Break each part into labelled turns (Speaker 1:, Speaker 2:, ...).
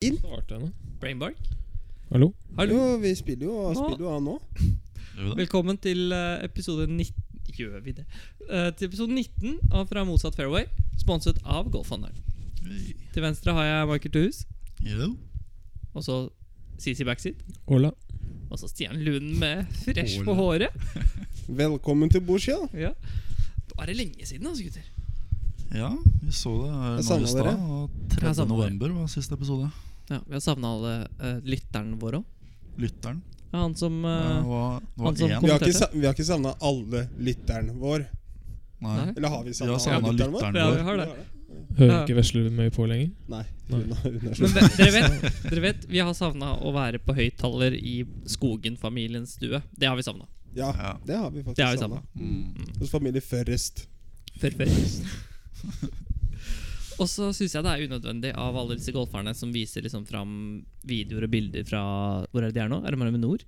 Speaker 1: programmet.
Speaker 2: Brainbark.
Speaker 1: Hallo?
Speaker 2: Hallo.
Speaker 3: Jo, vi spiller jo,
Speaker 2: Nå-
Speaker 3: spiller jo av nå.
Speaker 4: Jo da.
Speaker 2: Velkommen til eh, episode 19 Gjør vi det? Eh, til episode 19 av Fra motsatt fairway, sponset av Golfhandelen.
Speaker 4: Hey.
Speaker 2: Til venstre har jeg Michael Tuhus,
Speaker 4: Hello.
Speaker 2: og så CC Backseat.
Speaker 1: Hola.
Speaker 2: Og så Stian Lund med fresh på
Speaker 4: Ole.
Speaker 2: håret.
Speaker 3: Velkommen til bords, ja.
Speaker 2: Ja. Bare lenge siden, altså, gutter.
Speaker 4: Ja, vi så det
Speaker 3: Jeg
Speaker 4: her nå i
Speaker 3: savner dere.
Speaker 4: stad. og
Speaker 2: Jeg
Speaker 4: 3.
Speaker 2: savner
Speaker 4: november var siste episode.
Speaker 2: Ja, Vi har savna alle eh, lytterne våre òg.
Speaker 4: Lytteren.
Speaker 2: Ja, han som eh,
Speaker 4: det var, det
Speaker 2: han
Speaker 4: var
Speaker 2: som
Speaker 4: én.
Speaker 2: kom-
Speaker 3: Vi har ikke, sa- vi har ikke savna alle lytteren vår.
Speaker 4: Nei.
Speaker 2: Nei.
Speaker 3: Eller har vi
Speaker 4: Vi
Speaker 3: savna
Speaker 4: har savna lytteren
Speaker 2: Ja, vi
Speaker 4: vår.
Speaker 2: har det.
Speaker 1: Hører
Speaker 2: Ja.
Speaker 1: ikke vesle mye på lenger.
Speaker 3: Nei. Hun har, hun er
Speaker 2: Men
Speaker 3: slutt.
Speaker 2: ve- dere vet, dere vet vi har savna å være på høyttaler i Skogen familiens stue. Det har vi savna.
Speaker 3: Ja,
Speaker 4: Ja.
Speaker 3: det har vi
Speaker 2: Det har
Speaker 3: faktisk
Speaker 2: vi
Speaker 3: savna.
Speaker 2: savnet.
Speaker 4: Mm.
Speaker 3: Hos familie Førrest.
Speaker 2: Før før. Og så syns jeg det er unødvendig av alle disse golferne som viser liksom fram videoer og bilder fra Hvor er det de er nå? Er det bare med nord?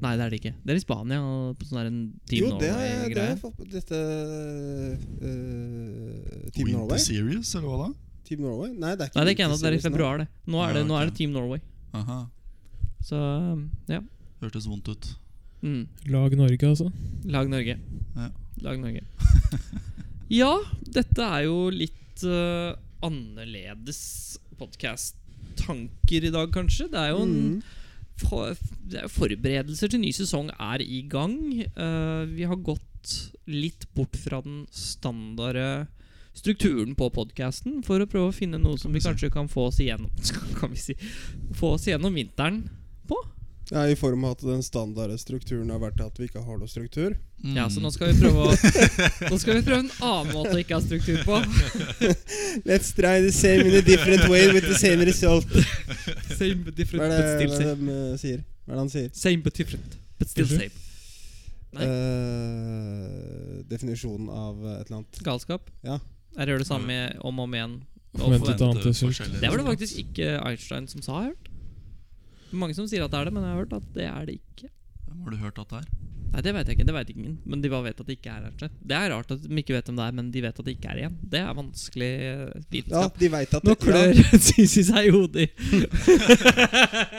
Speaker 2: Nei, det er det ikke. Det er i Spania. og på sånn der en Team
Speaker 3: Jo, det har jeg det har
Speaker 2: Norway-greie.
Speaker 3: jeg fått på dette eh, Team
Speaker 4: Winter
Speaker 3: Norway?
Speaker 4: Series, eller hva da?
Speaker 3: Team Norway? Nei, det er ikke
Speaker 2: Nei, det er ikke ennå. Det
Speaker 3: Winter
Speaker 2: er i
Speaker 3: Series nå.
Speaker 2: februar, det. Nå er det,
Speaker 4: Ja,
Speaker 2: nå er
Speaker 4: ok.
Speaker 2: det Team Norway.
Speaker 4: Aha.
Speaker 2: Så ja.
Speaker 4: Hørtes vondt ut.
Speaker 2: Mm.
Speaker 1: Lag Norge, altså.
Speaker 2: Lag Norge.
Speaker 4: Ja.
Speaker 2: Lag Norge. ja, dette er jo litt eh, annerledes podkast-tanker i dag, kanskje. Det er jo en
Speaker 3: Mm.
Speaker 2: for, det er jo forberedelser til ny sesong er i gang. Eh, vi har gått litt bort fra den standarde strukturen på podkasten for å prøve å finne noe som vi
Speaker 4: vi si.
Speaker 2: kanskje kan få oss igjennom Kan vi si Få oss igjennom vinteren.
Speaker 3: Ja, I form av at den standarde strukturen har vært at vi ikke har noe struktur.
Speaker 4: Mm.
Speaker 2: Ja, så nå skal vi prøve å Nå skal vi prøve en annen måte å ikke ha struktur på.
Speaker 3: Let's try the same in a different way with the same result.
Speaker 2: Same but different,
Speaker 3: Hva er
Speaker 2: but
Speaker 3: det,
Speaker 2: still
Speaker 3: hva
Speaker 2: same.
Speaker 3: er det de eh, sier? Hva er det han sier?
Speaker 2: Same but different, but still
Speaker 1: Unnskyld?
Speaker 2: same. Nei.
Speaker 3: Eh, definisjonen av eh, et eller annet.
Speaker 2: Galskap.
Speaker 3: Ja.
Speaker 2: Jeg gjør det samme om og om igjen. Og
Speaker 1: Forventet
Speaker 2: forvent-
Speaker 1: annet resultat.
Speaker 4: forskjellig.
Speaker 2: Det var det faktisk ikke Einstein som sa, har jeg hørt. Mange som sier at det er det, men jeg har hørt at det er det ikke.
Speaker 4: Hvem har du hørt at det er?
Speaker 2: Nei, det vet jeg ikke. det vet ingen Men de bare vet at det ikke er Einstein. Det er rart at de ikke vet hvem det er, men de vet at det ikke er igjen. Det er vanskelig eh,
Speaker 3: Ja,
Speaker 2: vitenskap.
Speaker 3: de vet at
Speaker 2: Nå
Speaker 3: det- ja.
Speaker 2: klør Sisi seg i hodet.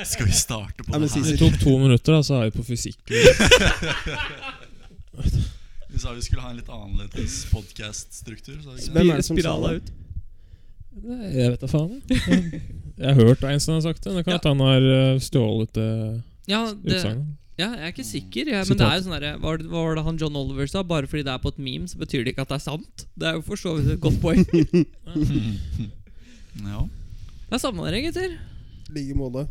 Speaker 4: Skal vi starte på
Speaker 3: Ja, men
Speaker 4: det
Speaker 3: si-
Speaker 4: her?
Speaker 1: Det tok to minutter, da, så er vi på fysikk.
Speaker 4: Vi sa vi skulle ha en litt annerledes podkast-struktur. sa vi ikke det?
Speaker 3: Hvem er det som sa
Speaker 2: Spirala
Speaker 3: det?
Speaker 2: ut.
Speaker 1: Nei, Jeg vet da faen. jeg. Jeg har hørt Einstein har sagt det. Det kan at han har eh, stjålet det
Speaker 2: Ja, det,
Speaker 1: utsagnet.
Speaker 2: ja, jeg er ikke sikker. Ja, men det er jo sånn derre- hva var det- hva var det han John Oliver sa? Bare fordi det er på et meme, så betyr det ikke at det er sant. Det er jo for så vidt et godt poeng. Det
Speaker 4: Ja.
Speaker 2: er samme dere, gutter.
Speaker 3: I like måte.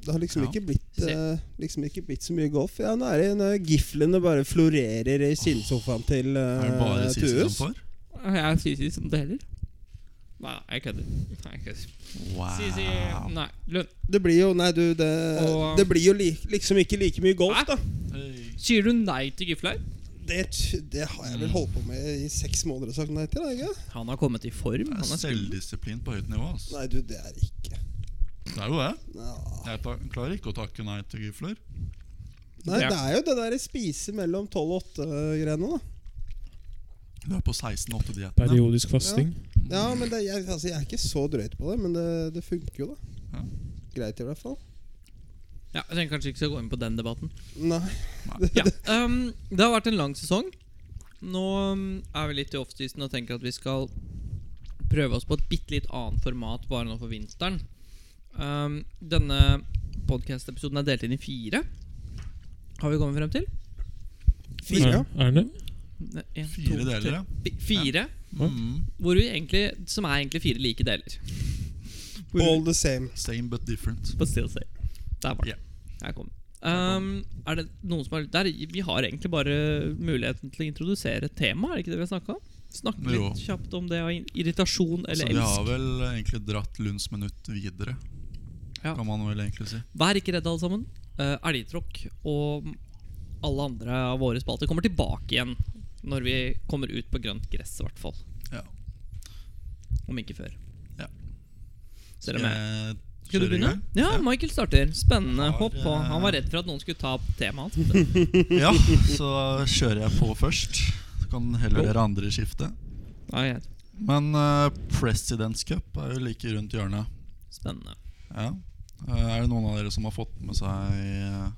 Speaker 3: Det har liksom
Speaker 4: Ja.
Speaker 3: ikke blitt
Speaker 2: Se.
Speaker 3: eh, Liksom ikke blitt så mye golf. Ja, nå er det nå er giflene bare florerer i sillsofaen til
Speaker 4: Er det
Speaker 3: uh,
Speaker 4: bare Sisi som
Speaker 3: Tuus.
Speaker 4: får?
Speaker 2: Jeg er Sisi som det heller. Nei, jeg kødder. Nei, jeg kødder. Sisi
Speaker 4: Wow.
Speaker 2: Nei, Lund.
Speaker 3: Det blir jo Nei, du, det,
Speaker 2: Og-
Speaker 3: det blir jo li, liksom ikke like mye golf,
Speaker 2: Nei.
Speaker 3: da.
Speaker 4: Hey.
Speaker 2: Sier du nei til Gifleir?
Speaker 3: Det, t- det har jeg
Speaker 4: Mm.
Speaker 3: vel holdt på med i seks måneder og sagt nei til. da, Ikke?
Speaker 2: Han har kommet i form.
Speaker 4: Det
Speaker 2: Han
Speaker 4: er
Speaker 2: er skummel.
Speaker 4: selvdisiplin på høyt nivå. altså. ass.
Speaker 3: Nei, du, det er ikke
Speaker 4: Det er jo det.
Speaker 3: Nå.
Speaker 4: Jeg ta- klarer ikke å takke nei til gifler.
Speaker 3: Nei,
Speaker 2: Det er-
Speaker 3: det er jo det derre spise mellom tolv og åtte-greiene, da.
Speaker 4: Du er på 16-8-dietten.
Speaker 1: Periodisk fasting.
Speaker 3: Ja, men det, jeg, altså, jeg er ikke så drøyt på det, men det, det funker jo, da.
Speaker 4: Ja.
Speaker 3: Greit, i hvert fall.
Speaker 2: Ja, jeg trenger kanskje ikke å gå inn på den debatten.
Speaker 3: Nei.
Speaker 2: Ja, ehm, Det har vært en lang sesong. Nå ehm, er vi litt i offseason og tenker at vi skal prøve oss på et bitte litt annet format bare nå for vinteren. Ehm, denne podcast-episoden er delt inn i fire. Har vi kommet frem til?
Speaker 3: Fire.
Speaker 1: Er, er det?
Speaker 2: Ne- en,
Speaker 4: Fire
Speaker 2: to, tre,
Speaker 4: deler, ja.
Speaker 2: fi- Fire,
Speaker 4: Mm.
Speaker 2: hvor vi egentlig, som er egentlig fire like deler. Hvor-
Speaker 3: All the same.
Speaker 4: Same but different.
Speaker 2: But still safe. Der var den.
Speaker 4: Ja.
Speaker 2: Her kom den. Um, er det noen som har der, Vi har egentlig bare muligheten til å introdusere et tema, er det ikke det vi har snakka om? Snakke
Speaker 4: Jo.
Speaker 2: litt kjapt om det av in- irritasjon
Speaker 4: Så
Speaker 2: eller
Speaker 4: vi har
Speaker 2: elsk.
Speaker 4: vel egentlig dratt Lunds minutt videre,
Speaker 2: Ja.
Speaker 4: kan man vel egentlig si.
Speaker 2: Vær ikke redde, alle sammen. Uh, Elgtråkk og alle andre av våre spalter kommer tilbake igjen når vi kommer ut på grønt gress, i hvert fall.
Speaker 4: Ja.
Speaker 2: Om ikke før.
Speaker 4: Ja.
Speaker 2: Selv om jeg
Speaker 4: Eh,
Speaker 2: Skal du
Speaker 4: kjører i
Speaker 2: begynne?
Speaker 4: gang?
Speaker 2: Ja, Michael starter. Spennende.
Speaker 4: Har,
Speaker 2: Hopp på.
Speaker 4: eh,
Speaker 2: Han var redd for at noen skulle ta opp temaet hans.
Speaker 4: Ja, så kjører jeg på først. Så kan heller dere andre skifte.
Speaker 2: Ja, ja.
Speaker 4: Men eh, Presidents Cup er jo like rundt hjørnet.
Speaker 2: Spennende.
Speaker 4: Ja. Eh, Er det noen av dere som har fått med seg eh,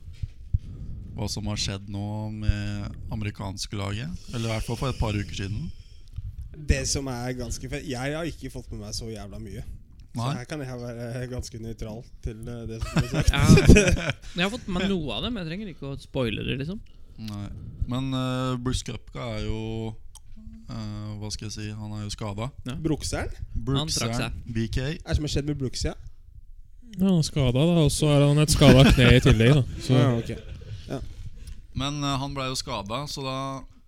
Speaker 4: hva som har skjedd nå med amerikanske laget? Eller i hvert fall for et par uker siden.
Speaker 3: Det som er ganske fett Jeg har ikke fått med meg så jævla mye. Så
Speaker 4: Nei?
Speaker 3: her kan jeg være ganske nøytral til eh, det som blir sagt.
Speaker 2: Ja, jeg har fått med meg noe av det, men jeg trenger ikke å spoile det. liksom
Speaker 3: Mm.
Speaker 4: Nei. Men eh, Bruce Cupka er jo eh, Hva skal jeg si? Han er jo skada.
Speaker 3: Brukseren?
Speaker 2: Han trakk
Speaker 4: Brookseren, BK.
Speaker 3: Hva er det som har skjedd med Brooks, ja?
Speaker 1: Ja, han er skada, da. Og så er han et skada kne i tillegg, da. Så
Speaker 3: Ja, ok.
Speaker 4: Men eh, han blei jo skada, så da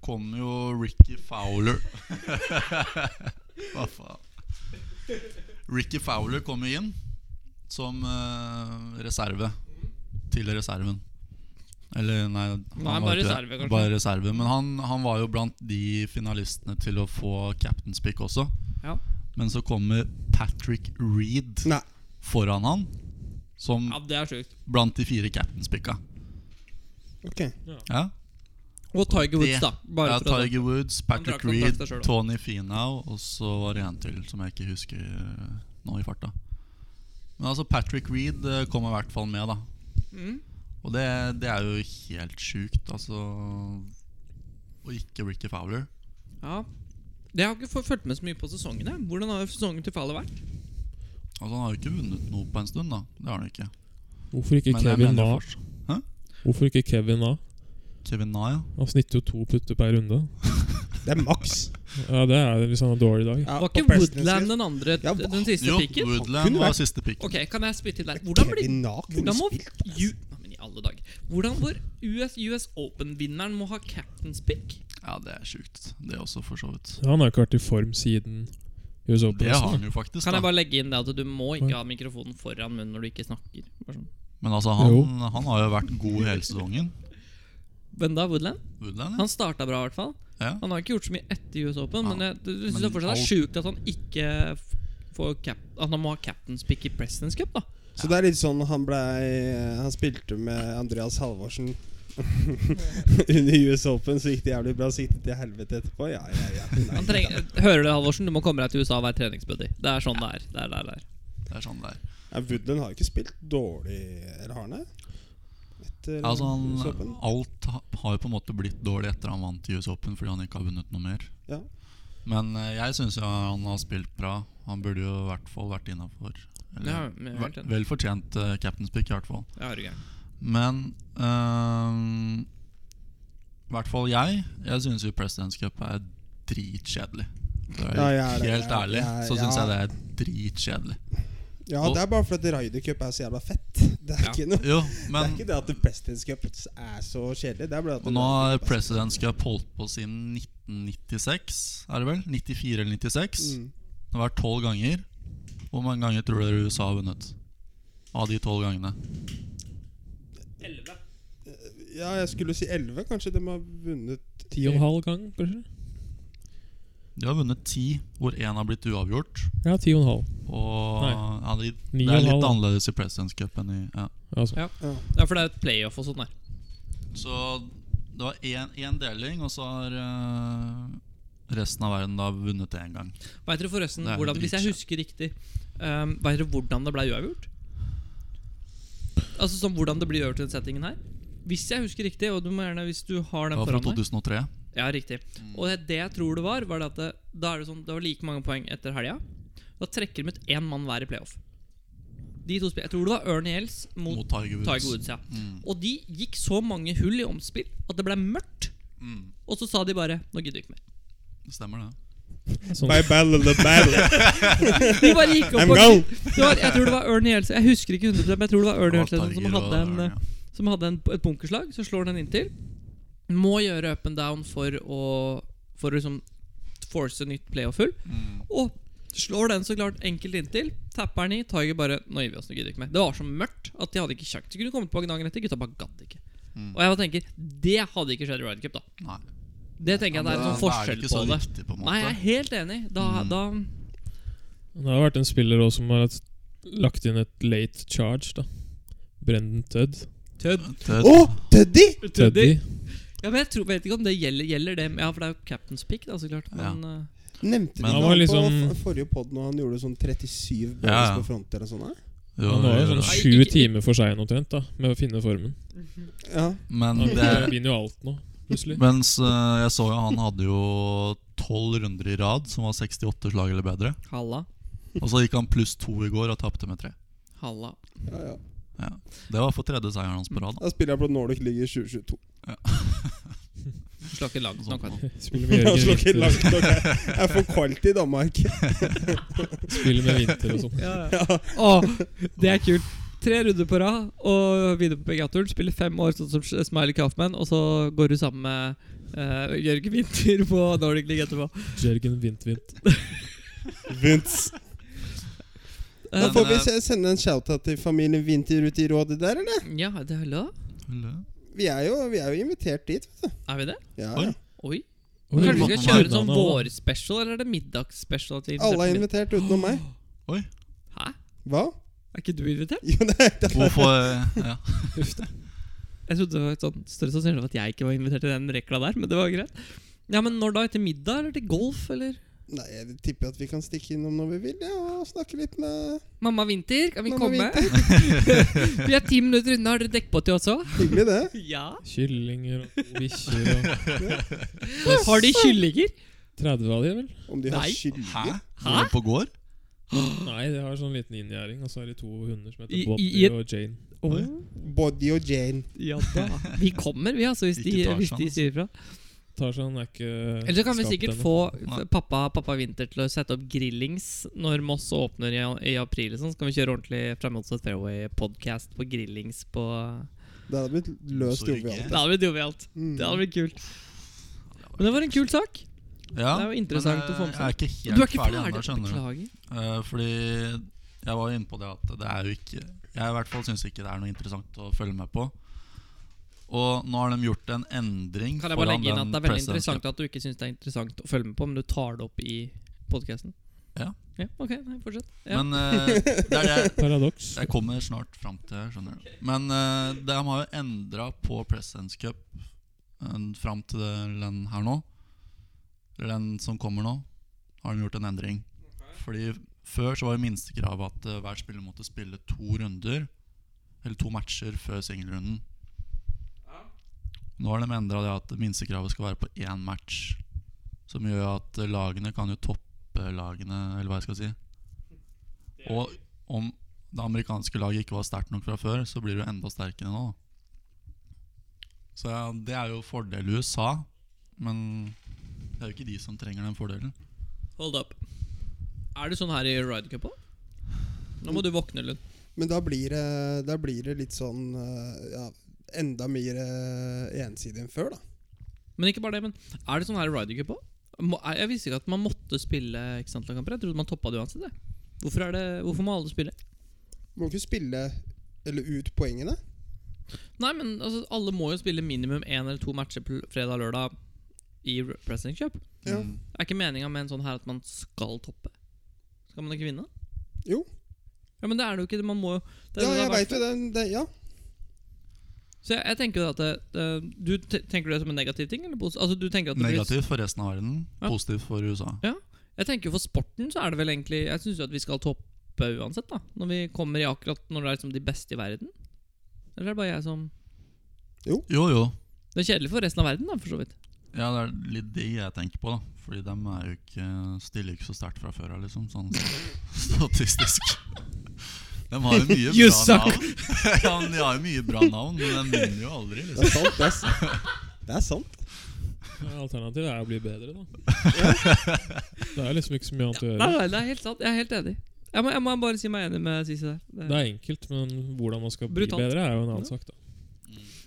Speaker 4: kom jo Ricky Fowler. Hva faen? Ricky Fowler kom jo inn som eh, reserve til reserven. Eller, nei,
Speaker 2: Nei, bare reserve, kanskje.
Speaker 4: Bare reserve. Men han, han var jo blant de finalistene til å få captain's pick også.
Speaker 2: Ja.
Speaker 4: Men så kommer Patrick Reed
Speaker 3: Nei.
Speaker 4: foran han, som
Speaker 2: Ja, det er sjukt.
Speaker 4: blant de fire captain's picka.
Speaker 3: ok
Speaker 4: Ja?
Speaker 2: Og Tiger Woods, da. Bare
Speaker 4: ja,
Speaker 2: for at
Speaker 4: Tiger Woods,
Speaker 2: drakk
Speaker 4: Patrick
Speaker 2: nok
Speaker 4: Reed,
Speaker 2: drakta selv, da.
Speaker 4: Tony Finau og så var det en til som jeg ikke husker eh, nå i farta. Men altså Patrick Reed eh, kommer i hvert fall med, da.
Speaker 2: Mm.
Speaker 4: Og det, det er jo helt sjukt, altså. Og ikke Ricky Fowler.
Speaker 2: Ja. Det har jeg ikke fått fulgt med så mye på sesongen. Jeg. Hvordan har sesongen til Fallet vært?
Speaker 4: Altså Han har jo ikke vunnet noe på en stund, da. Det har han jo ikke.
Speaker 1: hvorfor ikke
Speaker 4: Men jeg
Speaker 1: Kevin
Speaker 4: mener
Speaker 1: Na?
Speaker 4: fortsatt-
Speaker 1: Hvorfor ikke Kevin Na?
Speaker 4: Kevin Na, ja.
Speaker 1: Han snitter jo to putter per runde.
Speaker 3: Det er maks.
Speaker 1: Ja, det er det hvis han har dårlig dag.
Speaker 3: Ja,
Speaker 2: Var
Speaker 3: på
Speaker 2: ikke
Speaker 3: personen
Speaker 2: Woodland
Speaker 3: sin.
Speaker 2: den andre
Speaker 3: Ja, hva-
Speaker 2: den siste
Speaker 4: Jo,
Speaker 2: pikken?
Speaker 4: Woodland
Speaker 3: Kunne
Speaker 4: var
Speaker 3: vært-
Speaker 4: siste pick.
Speaker 2: Ok, kan jeg spytte litt der? Hvordan blir
Speaker 3: Kevin Na kunne
Speaker 2: Hvordan må
Speaker 3: spilt.
Speaker 2: U Nei, men i alle dager Hvordan vår US, US Open-vinneren må ha captain's pick?
Speaker 4: Ja, det er sjukt. Det også, for så vidt.
Speaker 1: Han har jo ikke vært i form siden US Open.
Speaker 4: Det har
Speaker 1: nesten,
Speaker 4: han jo faktisk,
Speaker 2: Kan jeg
Speaker 4: da.
Speaker 2: bare legge inn det at du må ikke ha mikrofonen foran munnen når du ikke snakker? Bare sånn.
Speaker 4: Men altså,
Speaker 1: Jo.
Speaker 4: han, han har jo vært god hele sesongen.
Speaker 2: Men da, Woodland?
Speaker 4: Woodland, ja.
Speaker 2: Han starta bra, i hvert fall.
Speaker 4: ja.
Speaker 2: Han har ikke gjort så mye etter US Open, men jeg, du, du synes
Speaker 4: men
Speaker 2: det fortsatt er
Speaker 4: alt-
Speaker 2: sjukt at han ikke f- får cap At han må ha captain's pick i President's Cup, da.
Speaker 3: Så det er litt sånn han blei Han spilte med Andreas Halvorsen under US Open, så gikk det jævlig bra. Så gikk det til helvete etterpå. Ja, ja, ja. Nei,
Speaker 2: Han treng, hører du, Halvorsen? Du må komme deg til USA og være treningsbuddy. Det er sånn det er. Det er, det er, det er.
Speaker 4: Det er sånn det er.
Speaker 3: Ja, Woodland har jo ikke spilt dårlig, eller har han det? Etter
Speaker 4: Ja, Altså
Speaker 3: US Open.
Speaker 4: han, alt ha- har jo på en måte blitt dårlig etter han vant US Open fordi han ikke har vunnet noe mer.
Speaker 3: Ja.
Speaker 4: Men eh, jeg syns han har spilt bra. Han burde jo i hvert fall vært innafor.
Speaker 2: Ja, men jeg er helt enig.
Speaker 4: Vel fortjent eh, captain's pick, i hvert fall.
Speaker 2: Ja, er du gæren.
Speaker 4: Men ehm, i hvert fall jeg. Jeg syns jo President's Cup er dritkjedelig. Det er
Speaker 3: Ja, jeg er det.
Speaker 4: helt
Speaker 3: Jeg-
Speaker 4: ærlig
Speaker 3: jeg-
Speaker 4: så syns
Speaker 3: ja.
Speaker 4: jeg det er dritkjedelig.
Speaker 3: Ja, det er bare fordi Ryder Cup er så jævla fett. Det er,
Speaker 2: Ja.
Speaker 3: ikke, noe,
Speaker 4: Jo,
Speaker 3: det er
Speaker 4: men
Speaker 3: ikke det at The Presidents Cup er så kjedelig. Det er bare at
Speaker 4: Og nå har
Speaker 3: Ryder Cup er så-
Speaker 4: President's Cup holdt på siden 1996, er det vel? 94 eller 96.
Speaker 3: Mm.
Speaker 4: Det har vært tolv ganger. Hvor mange ganger tror dere USA har vunnet? Av de tolv gangene.
Speaker 3: Ja, jeg skulle si 11. Kanskje de har vunnet
Speaker 1: Ti og en halv gang, kanskje?
Speaker 4: De har vunnet ti, hvor én har blitt uavgjort.
Speaker 1: Ja, ti og en halv.
Speaker 4: Og
Speaker 1: Nei.
Speaker 4: ja, de,
Speaker 1: Ni
Speaker 4: Det er
Speaker 1: og en
Speaker 4: litt
Speaker 1: halv.
Speaker 4: annerledes i President's Cup enn i ja.
Speaker 1: Altså.
Speaker 2: Ja.
Speaker 3: ja.
Speaker 2: Ja, for det er et playoff og sånn der.
Speaker 4: Så det var én, én deling, og så har eh, resten av verden da vunnet én gang.
Speaker 2: Vet dere forresten
Speaker 4: Det er
Speaker 2: hvordan,
Speaker 4: en
Speaker 2: Hvis jeg husker riktig, um, vet dere hvordan det ble uavgjort? Altså sånn hvordan det blir uavgjort i den settingen her? Hvis jeg husker riktig, og du må gjerne hvis du har
Speaker 4: Det
Speaker 2: den
Speaker 4: var fra
Speaker 2: foran deg
Speaker 4: 2003.
Speaker 2: Ja, riktig.
Speaker 4: Mm.
Speaker 2: Og det, det jeg tror det var, var det at det, da er det sånn Det var like mange poeng etter helga. Da trekker de ut én mann hver i playoff. De to spill, Jeg tror det var Ernie Els mot,
Speaker 4: Mot Tiger Woods.
Speaker 2: Tiger Woods. ja
Speaker 4: Mm.
Speaker 2: Og de gikk så mange hull i omspill at det ble mørkt.
Speaker 4: Mm.
Speaker 2: Og så sa de bare 'Nå gidder vi ikke mer'.
Speaker 4: Det stemmer, det.
Speaker 1: Sånn.
Speaker 3: Bye, bye, little bye.
Speaker 2: De bare gikk opp
Speaker 3: I'm
Speaker 2: og
Speaker 3: gone.
Speaker 2: Det var, jeg tror det var Ernie Elsen Jeg husker ikke 100 men jeg tror det var Ernie Elsen som
Speaker 4: Tiger og
Speaker 2: hadde, en,
Speaker 4: Ernie,
Speaker 2: eh, som hadde en, et bunkerslag. Så slår den inntil. Må gjøre up and down for å For å liksom force nytt playoff-hull.
Speaker 4: Mm.
Speaker 2: Og slår den så klart enkelt inntil. Tapper den i. Tiger bare Nå gir vi oss, nå gidder vi ikke mer. Det var så mørkt at de hadde ikke sjans. De kunne kommet på dagen etter. Gutta bare gadd ikke.
Speaker 4: Mm.
Speaker 2: Og jeg bare tenker Det hadde ikke skjedd i Ryder Cup, da.
Speaker 4: Nei.
Speaker 2: Det tenker jeg det er en sånn
Speaker 4: Da- da er det
Speaker 2: forskjell
Speaker 4: ikke så
Speaker 2: på det.
Speaker 4: viktig, på en måte.
Speaker 2: Nei, jeg er helt enig. Da,
Speaker 4: Mm.
Speaker 2: da
Speaker 1: Det har vært en spiller også som har hatt- lagt inn et late charge, da. Brendan Tudd.
Speaker 2: Tødd.
Speaker 4: Det-
Speaker 3: Å, Teddy!
Speaker 1: Teddy.
Speaker 2: Ja, men jeg tror, vet ikke om det gjelder, gjelder det Ja, for det er jo captain's pick, da, så klart. Men eh, ja.
Speaker 3: Nevnte
Speaker 4: Men
Speaker 3: du
Speaker 1: han var
Speaker 3: han på
Speaker 1: liksom-
Speaker 3: f- forrige pod når han gjorde sånn 37 balls
Speaker 4: Ja, ja.
Speaker 3: på front eller sånn? da?
Speaker 4: Jo,
Speaker 1: Han var jo
Speaker 4: gjør
Speaker 1: sånn
Speaker 4: det.
Speaker 2: Nei,
Speaker 1: sju
Speaker 2: ikke-
Speaker 1: timer for sein omtrent da, med å finne formen.
Speaker 3: Ja.
Speaker 2: Mm.
Speaker 4: Men
Speaker 1: Han
Speaker 4: det er
Speaker 1: vinner jo alt nå, plutselig.
Speaker 4: Mens eh, jeg så jo han hadde jo tolv runder i rad som var 68 slag eller bedre.
Speaker 2: Halla.
Speaker 4: Og så gikk han pluss to i går og tapte med tre.
Speaker 2: Halla.
Speaker 3: ja, ja.
Speaker 4: Ja. Det var for tredje seieren hans på rad. da.
Speaker 3: Da spiller jeg på Nordic League i 2022.
Speaker 2: Slår ikke langt nok. vet du.
Speaker 1: Spiller med
Speaker 3: Jeg
Speaker 1: Jørgen
Speaker 3: slår ikke
Speaker 1: Winther,
Speaker 3: langt nok. Jeg jeg er for kaldt i Danmark.
Speaker 1: spiller med Winter og sånn.
Speaker 2: Åh, det er kult. Tre runder på rad og videre på PGA-turen. Spiller fem år sånn som Smiley Kaufman, og så går du sammen med eh, Jørgen Winther på Nordic League etterpå.
Speaker 1: Jørgen Vint-Vint.
Speaker 3: Vince. Da
Speaker 2: Eh,
Speaker 3: får vi se- sende en shout-out til familien Winter ut i rådet der, eller?
Speaker 2: ja, det er lov.
Speaker 4: eh,
Speaker 3: Vi er jo, vi er jo invitert dit. vet
Speaker 2: Er vi det?
Speaker 3: du. Ja,
Speaker 4: Oi.
Speaker 3: ja.
Speaker 2: Oi.
Speaker 1: Oi,
Speaker 2: Kanskje vi
Speaker 4: man-
Speaker 2: skal kjøre
Speaker 1: man-
Speaker 2: en sånn
Speaker 1: man- man-
Speaker 2: vårspecial, eller er det middagsspecial? til
Speaker 3: Alle er
Speaker 2: Intercept?
Speaker 3: invitert utenom meg.
Speaker 2: Hæ?
Speaker 3: Hva?
Speaker 2: Er ikke du invitert?
Speaker 3: Jo, nei, det er
Speaker 4: Hvorfor eh, ja.
Speaker 2: Jeg trodde det var et sånt større sannsynlighet for at jeg ikke var invitert til den rekla der, men det var greit. Ja, men når da? Etter middag, eller til golf, eller?
Speaker 3: Nei, jeg tipper at vi kan stikke innom når vi vil, ja, og snakke litt med
Speaker 2: Mamma Winter, kan vi
Speaker 3: Mamma
Speaker 2: komme? vi er ti minutter unna, har dere dekk på til også?
Speaker 3: Hyggelig, det.
Speaker 2: Ja.
Speaker 1: Kyllinger og bikkjer og
Speaker 2: Har de kyllinger?
Speaker 1: 30 av de, vel?
Speaker 3: Om de har
Speaker 2: Nei.
Speaker 4: Hæ?
Speaker 3: skyldige?
Speaker 4: Var det På gård?
Speaker 1: Nei, de har sånn liten inngjerding, og så har de to hunder som
Speaker 2: I-
Speaker 1: heter
Speaker 2: i-
Speaker 1: Bobby
Speaker 2: i et-
Speaker 1: og Jane.
Speaker 2: Åh,
Speaker 3: Body og Jane.
Speaker 2: ja da. Vi kommer, vi, altså, hvis de,
Speaker 4: Ikke tar
Speaker 2: hvis de
Speaker 4: sjansen.
Speaker 2: sier fra.
Speaker 1: Tarzan er ikke
Speaker 2: Eller så kan vi
Speaker 1: skapt
Speaker 2: sikkert
Speaker 1: ennå.
Speaker 2: få
Speaker 4: Nei.
Speaker 2: pappa, pappa Winter til å sette opp grillings når Moss åpner i, i april. Sånn. Så kan vi kjøre ordentlig Fremholds Fairway-podkast på grillings på
Speaker 3: Det hadde blitt løst
Speaker 4: Så
Speaker 3: jovialt.
Speaker 4: hyggelig.
Speaker 2: Det hadde blitt jovialt.
Speaker 3: Mm.
Speaker 2: Det hadde blitt kult. Men det var en kul sak.
Speaker 4: Ja,
Speaker 2: Det er jo interessant
Speaker 4: men, eh,
Speaker 2: å få med seg.
Speaker 4: Jeg er ikke
Speaker 2: Du
Speaker 4: helt
Speaker 2: er ikke
Speaker 4: ferdig
Speaker 2: ferdig?
Speaker 4: ennå, skjønner du.
Speaker 2: Beklager.
Speaker 4: Eh, fordi jeg var jo inne på det at det er jo ikke Jeg i hvert fall syns ikke det er noe interessant å følge med på. Og nå har de gjort en endring
Speaker 2: Kan jeg bare legge inn at det er veldig
Speaker 4: presidentskap-
Speaker 2: interessant at du ikke syns det er interessant å følge med på, men du tar det opp i podkasten?
Speaker 4: Ja.
Speaker 2: ja. Ok, nei, fortsett. Ja.
Speaker 4: Men eh, det er det jeg
Speaker 1: Paradoks.
Speaker 4: Jeg kommer snart fram til det, skjønner du. Men eh, de har jo endra på Presidents Cup uh, fram til det- den her nå. Eller den som kommer nå, har de gjort en endring. Fordi før så var jo minstekravet at eh, hver spiller måtte spille to runder, eller to matcher, før singelrunden. Nå har de endra det at minstekravet skal være på én match. Som gjør at eh, lagene kan jo toppe lagene, eller hva jeg skal si. Og om det amerikanske laget ikke var sterkt nok fra før, så blir det jo enda sterkere nå. da. Så ja, det er jo fordel i USA, men det er jo ikke de som trenger den fordelen.
Speaker 2: Hold up. Er det sånn her i Ryder Cup òg? Nå må du våkne, Lund.
Speaker 3: Men da blir, det, da blir det litt sånn eh, ja, Enda mer eh, ensidig enn før, da.
Speaker 2: Men ikke bare det, men er det sånn her i Ryder Cup òg? Må- er- Jeg visste ikke at man måtte spille x antall kamper. Jeg trodde man toppa det uansett. jeg. Hvorfor, er det, hvorfor må alle spille?
Speaker 3: Må ikke spille eller ut poengene.
Speaker 2: Nei, men altså, alle må jo spille minimum én eller to matcher på fredag-lørdag i R- President's Cup.
Speaker 3: Ja.
Speaker 4: Mm.
Speaker 2: Er ikke meninga med en sånn her at man skal toppe? Skal man ikke vinne?
Speaker 3: Jo.
Speaker 2: Ja, men det er det jo ikke. Man må jo
Speaker 3: Ja,
Speaker 2: det er det det
Speaker 3: jeg
Speaker 2: har vært
Speaker 3: veit jo det, det. Ja.
Speaker 2: Så jeg, jeg tenker jo at det, det, Du te- tenker det som en negativ ting? Eller posi- altså, du tenker at det blir-
Speaker 4: Negativt for resten av verden,
Speaker 2: Ja.
Speaker 4: positivt for USA.
Speaker 2: Jeg tenker jo for sporten så er det vel egentlig Jeg syns jo at vi skal toppe uansett, da. Når vi kommer i akkurat når det er liksom de beste i verden. Eller er det bare jeg som
Speaker 4: Jo, jo.
Speaker 2: Det er kjedelig for resten av verden, da, for så vidt.
Speaker 4: Ja, det er litt det jeg tenker på, da. Fordi de er jo ikke, stiller ikke så sterkt fra før av, liksom. Sånn statistisk. De har jo mye
Speaker 2: You
Speaker 4: bra
Speaker 2: suck.
Speaker 4: navn. ja, men de har jo mye bra navn, men de vinner jo aldri,
Speaker 3: Det
Speaker 4: liksom.
Speaker 3: er sant. Det er, s- det er sant.
Speaker 1: Ja, Alternativet er å bli bedre, da. Det er liksom ikke så mye annet å
Speaker 2: Nei,
Speaker 1: gjøre.
Speaker 2: nei, det er helt sant. Jeg er helt enig. Jeg må, jeg må bare si meg enig med Sisi der. Det-
Speaker 1: Det er enkelt, men hvordan man skal bli
Speaker 2: Brutalt.
Speaker 1: bedre, er jo en annen sak, da.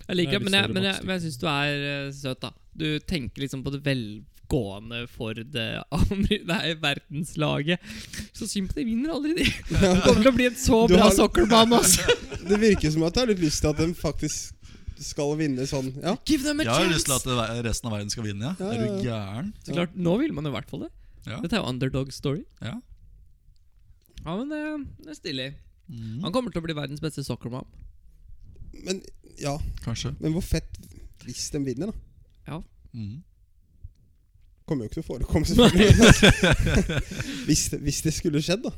Speaker 2: Jeg liker det,
Speaker 1: Det er
Speaker 2: men jeg, men
Speaker 1: litt større
Speaker 2: jeg, men jeg syns du er eh, søt, da. Du tenker liksom på det velgående for det amer- nei, verdenslaget. Så synd på de vinner aldri, de. Det kommer til å bli en så
Speaker 3: Du
Speaker 2: bra
Speaker 3: har-
Speaker 2: sokkelbane, altså.
Speaker 3: Det virker som at jeg har litt lyst til at de faktisk skal vinne sånn. Ja,
Speaker 2: Give them a
Speaker 4: Jeg har jo lyst til
Speaker 2: chance!
Speaker 4: at det- resten av verden skal vinne, ja.
Speaker 3: Ja,
Speaker 4: Er du
Speaker 3: ja,
Speaker 4: gæren?
Speaker 2: Så klart, nå vil man jo i hvert fall det.
Speaker 4: Ja.
Speaker 2: Dette er jo underdog story.
Speaker 4: Ja.
Speaker 2: Ja, men det, det er stilig.
Speaker 4: Mm.
Speaker 2: Han kommer til å bli verdens beste soccermom.
Speaker 3: men, ja.
Speaker 4: Kanskje.
Speaker 3: men hvor fett hvis de vinner, da?
Speaker 4: Mm.
Speaker 3: Kommer jo ikke til å forekomme, selvfølgelig. hvis, det, hvis det skulle skjedd, da.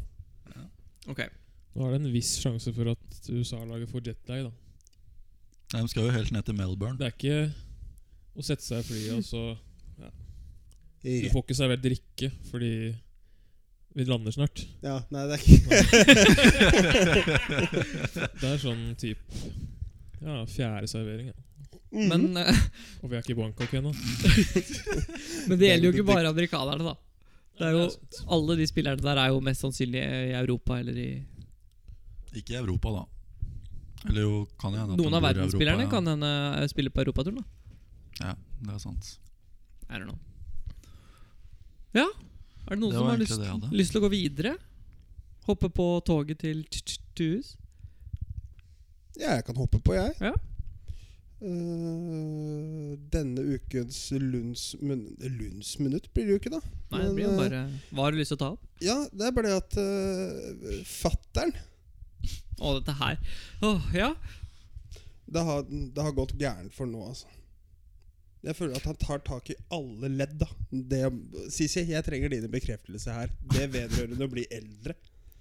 Speaker 2: Ok,
Speaker 1: Nå er det en viss sjanse for at USA-laget får jetlag, da.
Speaker 4: Nei, De skal jo helt ned til Melbourne.
Speaker 1: Det er ikke å sette seg i flyet og så Du
Speaker 3: Ja.
Speaker 1: får ikke servert drikke fordi vi lander snart.
Speaker 3: ja. Nei, det er ikke
Speaker 1: Det er sånn type ja, fjerde servering. Ja.
Speaker 2: Men, eh,
Speaker 1: Og vi er ikke i Bangkok ennå.
Speaker 2: men det gjelder jo ikke bare amerikanerne, da. Det er jo, alle de spillerne der er jo mest sannsynlig i Europa eller i
Speaker 4: Ikke i Europa, da. Eller jo, kan jeg
Speaker 2: Noen av verdensspillerne kan hende eh, spiller på europaturen, da.
Speaker 4: Ja, det er sant.
Speaker 2: I don't know. Ja. Er det noen
Speaker 4: Det
Speaker 2: som
Speaker 4: var
Speaker 2: har
Speaker 4: egentlig
Speaker 2: lyst,
Speaker 4: det jeg hadde.
Speaker 2: lyst til å gå videre? Hoppe på toget til Tuhus?
Speaker 3: Ja, jeg kan hoppe på, jeg.
Speaker 2: Ja.
Speaker 3: Eh, denne ukens Lunds, mun Lunds minutt blir det jo ikke, da.
Speaker 2: Nei, det
Speaker 3: Men,
Speaker 2: blir jo
Speaker 3: eh,
Speaker 2: bare Hva har du lyst til å ta opp?
Speaker 3: Ja, det er bare det at uh, fattern
Speaker 2: Å, dette her. Åh, ja.
Speaker 3: det, har- det har gått gærent for nå, altså. Jeg føler at han tar tak i alle ledd, da. Det, Sisi, jeg trenger din bekreftelse her. Det vedrørende å bli eldre.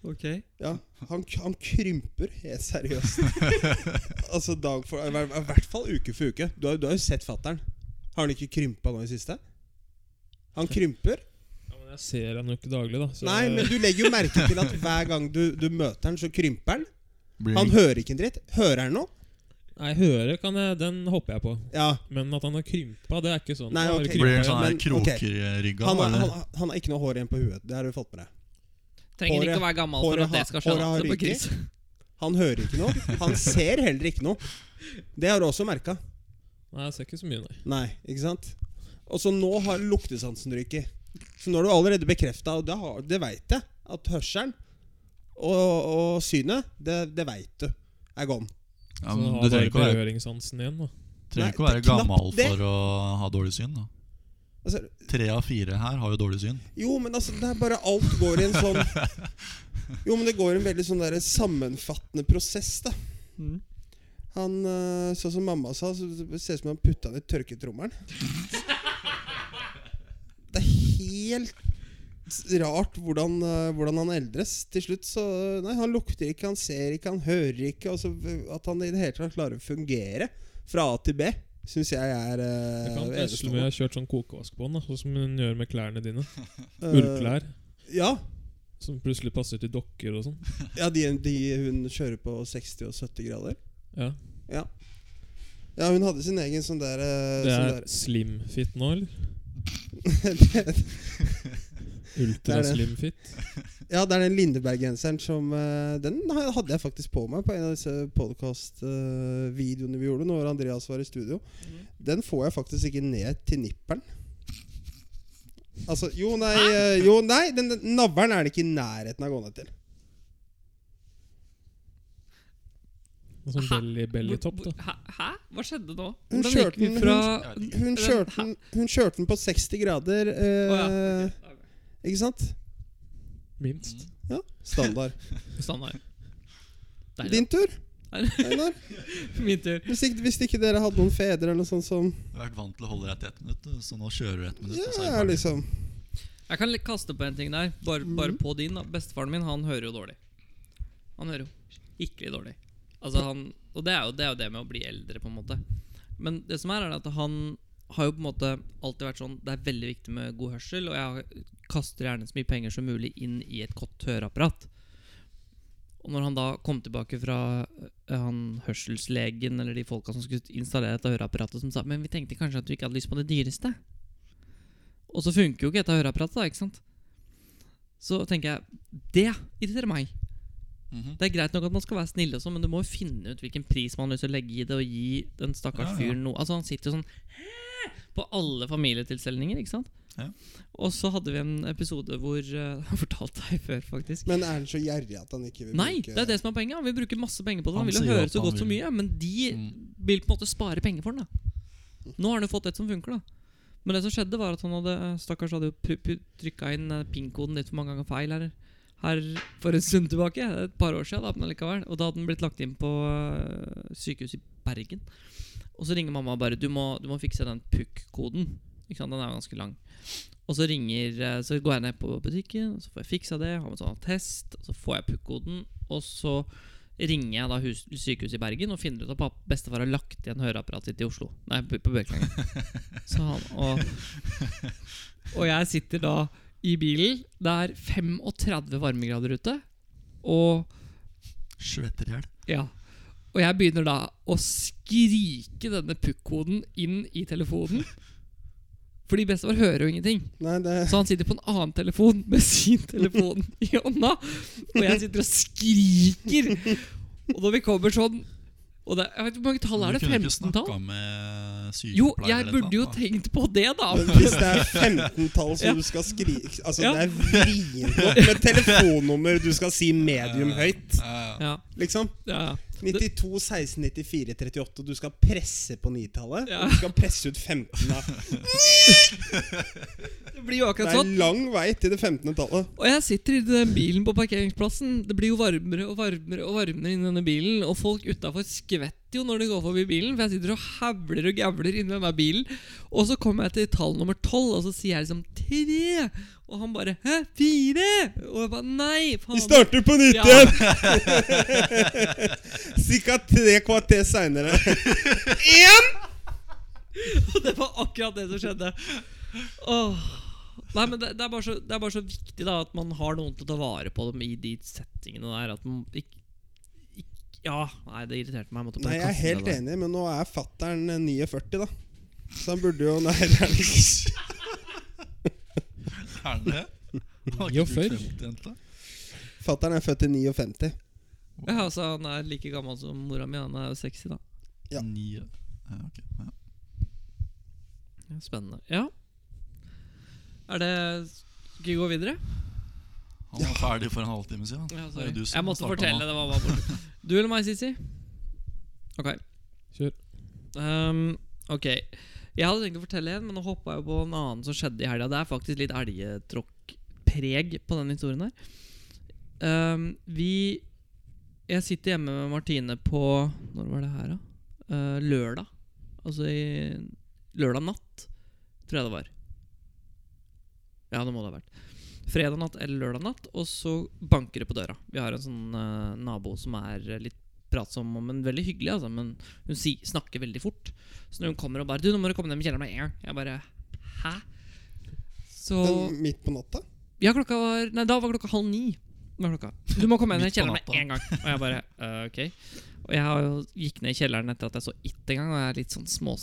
Speaker 2: Ok.
Speaker 3: Ja, han, han krymper helt seriøst. altså dag for I hver- i hvert fall uke for uke. Du har, du har jo sett fattern. Har han ikke krympa nå i siste? Han krymper.
Speaker 1: Ja, men jeg ser han jo ikke daglig, da. Så
Speaker 3: Nei, men du legger jo merke til at hver gang du, du møter han, så krymper han.
Speaker 4: Blir
Speaker 3: Han
Speaker 4: det-
Speaker 3: hører ikke en dritt. Hører han noe?
Speaker 1: Nei, høre kan jeg Den hopper jeg på.
Speaker 3: Ja.
Speaker 1: Men at han har krympa, det er ikke sånn.
Speaker 3: Nei,
Speaker 1: Han har
Speaker 3: ok.
Speaker 1: krympa
Speaker 4: blir det en
Speaker 1: igjen.
Speaker 4: sånn her
Speaker 3: Men, ok.
Speaker 4: krokerygga?
Speaker 3: Han, har-
Speaker 4: eller?
Speaker 3: han, han har ikke noe hår igjen på huet. Det har du fått med deg.
Speaker 2: Trenger
Speaker 3: Håret-
Speaker 2: ikke å være gammel for
Speaker 3: håret
Speaker 2: at det
Speaker 3: har-
Speaker 2: skal
Speaker 3: håret
Speaker 2: skjønne
Speaker 3: har
Speaker 2: at det på
Speaker 3: ryket.
Speaker 2: Chris.
Speaker 3: Han hører ikke noe. Han ser heller ikke noe. Det har du også merka.
Speaker 4: sånn-
Speaker 1: Nei, jeg ser ikke så mye, nei.
Speaker 3: Nei, ikke sant? Og så nå har luktesansen ryket. Så nå har du allerede bekrefta, og det, har- det veit jeg, at hørselen og, og synet, det, det veit du, er gone.
Speaker 4: ja,
Speaker 1: så
Speaker 4: men
Speaker 1: han
Speaker 4: du trenger
Speaker 1: har bare
Speaker 4: ikke å være,
Speaker 1: berøringssansen igjen, da.
Speaker 4: trenger ikke
Speaker 3: Nei,
Speaker 4: å
Speaker 3: det
Speaker 4: være
Speaker 3: er knapt
Speaker 4: gammel
Speaker 3: det.
Speaker 4: for å ha dårlig syn. da
Speaker 3: Altså,
Speaker 4: Tre av fire her har jo dårlig syn.
Speaker 3: jo, men altså, det er bare alt går i en sånn Jo, men det går i en veldig sånn der sammenfattende prosess, da.
Speaker 2: Mm.
Speaker 3: Han, øh, sånn som mamma sa, så ser det ut som han putta den i tørketrommelen. Det er helt s- rart hvordan, øh, hvordan han eldres. Til slutt så øh, Nei, han lukter ikke, han ser ikke, han hører ikke. Altså, v- at han i det hele tatt klarer å fungere fra A til B, syns jeg er øh,
Speaker 1: Jeg kan vesle med å ha kjørt sånn kokevaskbånd, da, sånn som hun gjør med klærne dine. Eh.
Speaker 3: Øh,
Speaker 1: Ullklær
Speaker 3: Ja,
Speaker 1: som plutselig passer til dokker og sånn.
Speaker 3: ja de, de hun kjører på 60 og 70 grader.
Speaker 1: Ja.
Speaker 3: Ja. Ja, hun hadde sin egen sånn der, øh,
Speaker 1: Det
Speaker 3: sånn
Speaker 1: er slimfit nå, eller?
Speaker 3: der.
Speaker 1: Ultraslimfit.
Speaker 3: Ja, det er den Lindeberg-genseren som eh, Den ha- hadde jeg faktisk på meg på en av disse podkast-videoene vi gjorde når Andreas var i studio. Den får jeg faktisk ikke ned til nipperen. Altså Jo, nei, eh, jo, nei den, den navlen er det ikke i nærheten av å gå ned til.
Speaker 1: Og Sånn belly bellytopp, da.
Speaker 2: Hæ? Hæ? Hva skjedde nå?
Speaker 3: Hun
Speaker 2: Hvordan gikk
Speaker 3: kjørte
Speaker 2: vi
Speaker 3: den-
Speaker 2: fra
Speaker 3: Hun kjørte den, hun kjørte den på 60 grader. eh,
Speaker 2: Å,
Speaker 3: Ikke sant?
Speaker 1: Minst.
Speaker 3: Ja, Standard.
Speaker 2: Standard. Deilig.
Speaker 3: Din tur,
Speaker 2: Nei,
Speaker 3: Einar.
Speaker 2: Min tur.
Speaker 3: Hvis, ikke- hvis ikke dere hadde noen fedre eller noe sånt som
Speaker 4: Jeg har vært vant til å holde deg til ett minutt, så nå kjører du ett minutt. og så er
Speaker 3: Ja,
Speaker 4: det ferdig.
Speaker 3: liksom.
Speaker 2: Jeg kan litt kaste på en ting der. Bare, bare på din. da. Bestefaren min han hører jo dårlig. Han hører jo skikkelig dårlig. Altså han, og det er, jo, det er jo det med å bli eldre, på en måte. Men det som er, er at han har jo på en måte alltid vært sånn Det er veldig viktig med god hørsel, og jeg kaster gjerne så mye penger som mulig inn i et godt høreapparat. Og når han da kom tilbake fra eh, han hørselslegen eller de folka som skulle installere dette høreapparatet, som sa Men vi tenkte kanskje at du ikke hadde lyst på det dyreste. Og så funker jo ikke dette høreapparatet, da, ikke sant? Så tenker jeg Det irriterer meg.
Speaker 3: liksom.
Speaker 4: Mhm.
Speaker 2: Det er greit nok at man skal være snill, og sånn, men du må jo finne ut hvilken pris man har lyst til å legge i det, og gi den stakkars
Speaker 4: Ja, ja.
Speaker 2: fyren noe. Altså Han sitter jo sånn «Hæ?» på alle familietilstelninger, ikke sant?
Speaker 4: Ja.
Speaker 2: Og så hadde vi en episode hvor eh, Han fortalte deg før, faktisk.
Speaker 3: Men er han så gjerrig at han ikke vil
Speaker 2: Nei,
Speaker 3: bruke
Speaker 2: det er det som er poenget. Han vil bruke masse penger på det. Han,
Speaker 4: Han
Speaker 2: vil jo
Speaker 4: sier
Speaker 2: høre
Speaker 4: at
Speaker 2: så
Speaker 4: han
Speaker 2: godt som
Speaker 4: vil.
Speaker 2: mye, men de
Speaker 4: Mm.
Speaker 2: vil på en måte spare penger for den. da Nå har han jo fått et som funker, da. Men det som skjedde, var at han hadde eh, stakkars hadde jo trykka inn eh, PIN-koden litt for mange ganger feil her, her for en stund tilbake. Et par år siden, da, men allikevel. Og da hadde den blitt lagt inn på eh, sykehus i Bergen. Og så ringer mamma bare Du må, du må fikse den PUK-koden. Ikke sant, Den er jo ganske lang. Og så ringer eh, Så går jeg ned på butikken, og så får jeg fiksa det. Har med sånn attest. Og så får jeg PUK-koden, Og så ringer jeg da hus sykehuset i Bergen og finner ut at papp- bestefar har lagt igjen høreapparatet sitt i Oslo. Nei, på på Bjørklangen. Så han, og, og jeg sitter da i bilen. Det er 35 varmegrader ute. Og
Speaker 4: Svetter i hjel.
Speaker 2: ja. Og jeg begynner da å skrike denne pukkkoden inn i telefonen. Fordi bestefar hører jo ingenting.
Speaker 3: Nei, det
Speaker 2: Så han sitter på en annen telefon med sin telefon i hånda. Og jeg sitter og skriker. Og når vi kommer sånn og det, Jeg vet ikke hvor mange tall er det?
Speaker 4: Du kunne ikke
Speaker 2: 15-tall?
Speaker 4: snakket med sykepleier
Speaker 2: Jo,
Speaker 4: eller
Speaker 2: jeg
Speaker 4: noe
Speaker 2: burde jo
Speaker 4: annet, da.
Speaker 2: tenkt på det, da.
Speaker 3: Men Hvis det er 15-tall som
Speaker 2: Ja.
Speaker 3: du skal skrive Altså,
Speaker 2: Ja.
Speaker 3: det er vrient nok med telefonnummer du skal si medium høyt,
Speaker 4: Ja, ja.
Speaker 2: Ja,
Speaker 3: liksom.
Speaker 2: ja, ja.
Speaker 3: 92, 16, 94, 38. Du skal presse på 9-tallet.
Speaker 2: Ja.
Speaker 3: og Du skal presse ut 15. Da.
Speaker 2: Det blir jo
Speaker 3: Det
Speaker 2: akkurat
Speaker 3: er
Speaker 2: sånn.
Speaker 3: lang vei til det 15. tallet.
Speaker 2: Og jeg sitter i den bilen på parkeringsplassen. Det blir jo varmere og varmere og varmere inni denne bilen. Og folk utafor skvetter jo når de går forbi bilen, for jeg sitter og havler og gavler inni denne bilen. Og så kommer jeg til tall nummer tolv, og så sier jeg liksom tre. Og han bare 'hæ, fire?' Og jeg bare
Speaker 3: Vi
Speaker 2: 'nei, faen'.
Speaker 3: starter på nytt
Speaker 2: Ja.
Speaker 3: igjen! Cirka tre kvarter seinere. Én!
Speaker 2: Og det var akkurat det som skjedde. Åh. Nei, men det, det, er bare så, det er bare så viktig da at man har noen til å ta vare på dem i de settingene der. At man ikke, ikke Ja, nei, det irriterte meg. Jeg måtte bare
Speaker 3: Nei, jeg er
Speaker 2: kaste
Speaker 3: helt
Speaker 2: det der.
Speaker 3: enig, men nå er fattern 49, da. Så han burde jo Nei, det er ikke
Speaker 4: Er den det? Har ikke
Speaker 1: Jo,
Speaker 4: du
Speaker 1: før.
Speaker 4: glemt den, da?
Speaker 3: Fattern er født i 59.
Speaker 2: Ja, altså Han er like gammel som mora mi. Han er jo 60, da.
Speaker 3: Ja.
Speaker 4: Ni, ja. Ja, ok, ja.
Speaker 2: Ja, Spennende. Ja. Er det Skal vi gå videre?
Speaker 4: Han var ferdig for en halvtime siden.
Speaker 2: Ja,
Speaker 4: Det er
Speaker 2: sorry.
Speaker 4: jo du som
Speaker 2: Jeg måtte
Speaker 4: startet
Speaker 2: fortelle.
Speaker 4: nå.
Speaker 2: Det var bare borte. Du eller meg, Sissy? Ok.
Speaker 1: Kjør.
Speaker 2: Ehm, ok. Jeg hadde tenkt å fortelle en, men nå hoppa jeg på en annen som skjedde i helga. Det er faktisk litt elgetråkkpreg på den historien her. Ehm, vi Jeg sitter hjemme med Martine på Når var det her, da? Eh, lørdag. Altså i lørdag natt, tror jeg det var. Ja, det må det ha vært fredag natt eller lørdag natt, og så banker det på døra. Vi har en sånn eh, nabo som er eh, litt pratsom, men veldig hyggelig, altså. Men hun si, snakker veldig fort. Så når hun kommer og bare 'Du, nå må du komme ned med kjelleren med en gang.' Jeg bare 'Hæ?' Så
Speaker 3: Men midt på natta?
Speaker 2: Ja, klokka var Nei, da var klokka halv ni. Var klokka. Du må komme ned i
Speaker 4: Midt på
Speaker 2: kjelleren med
Speaker 4: natta.
Speaker 2: en gang. Og jeg bare «Eh, Ok. Og jeg har jo- gikk ned i kjelleren etter at jeg så It en gang, og jeg er litt sånn, små,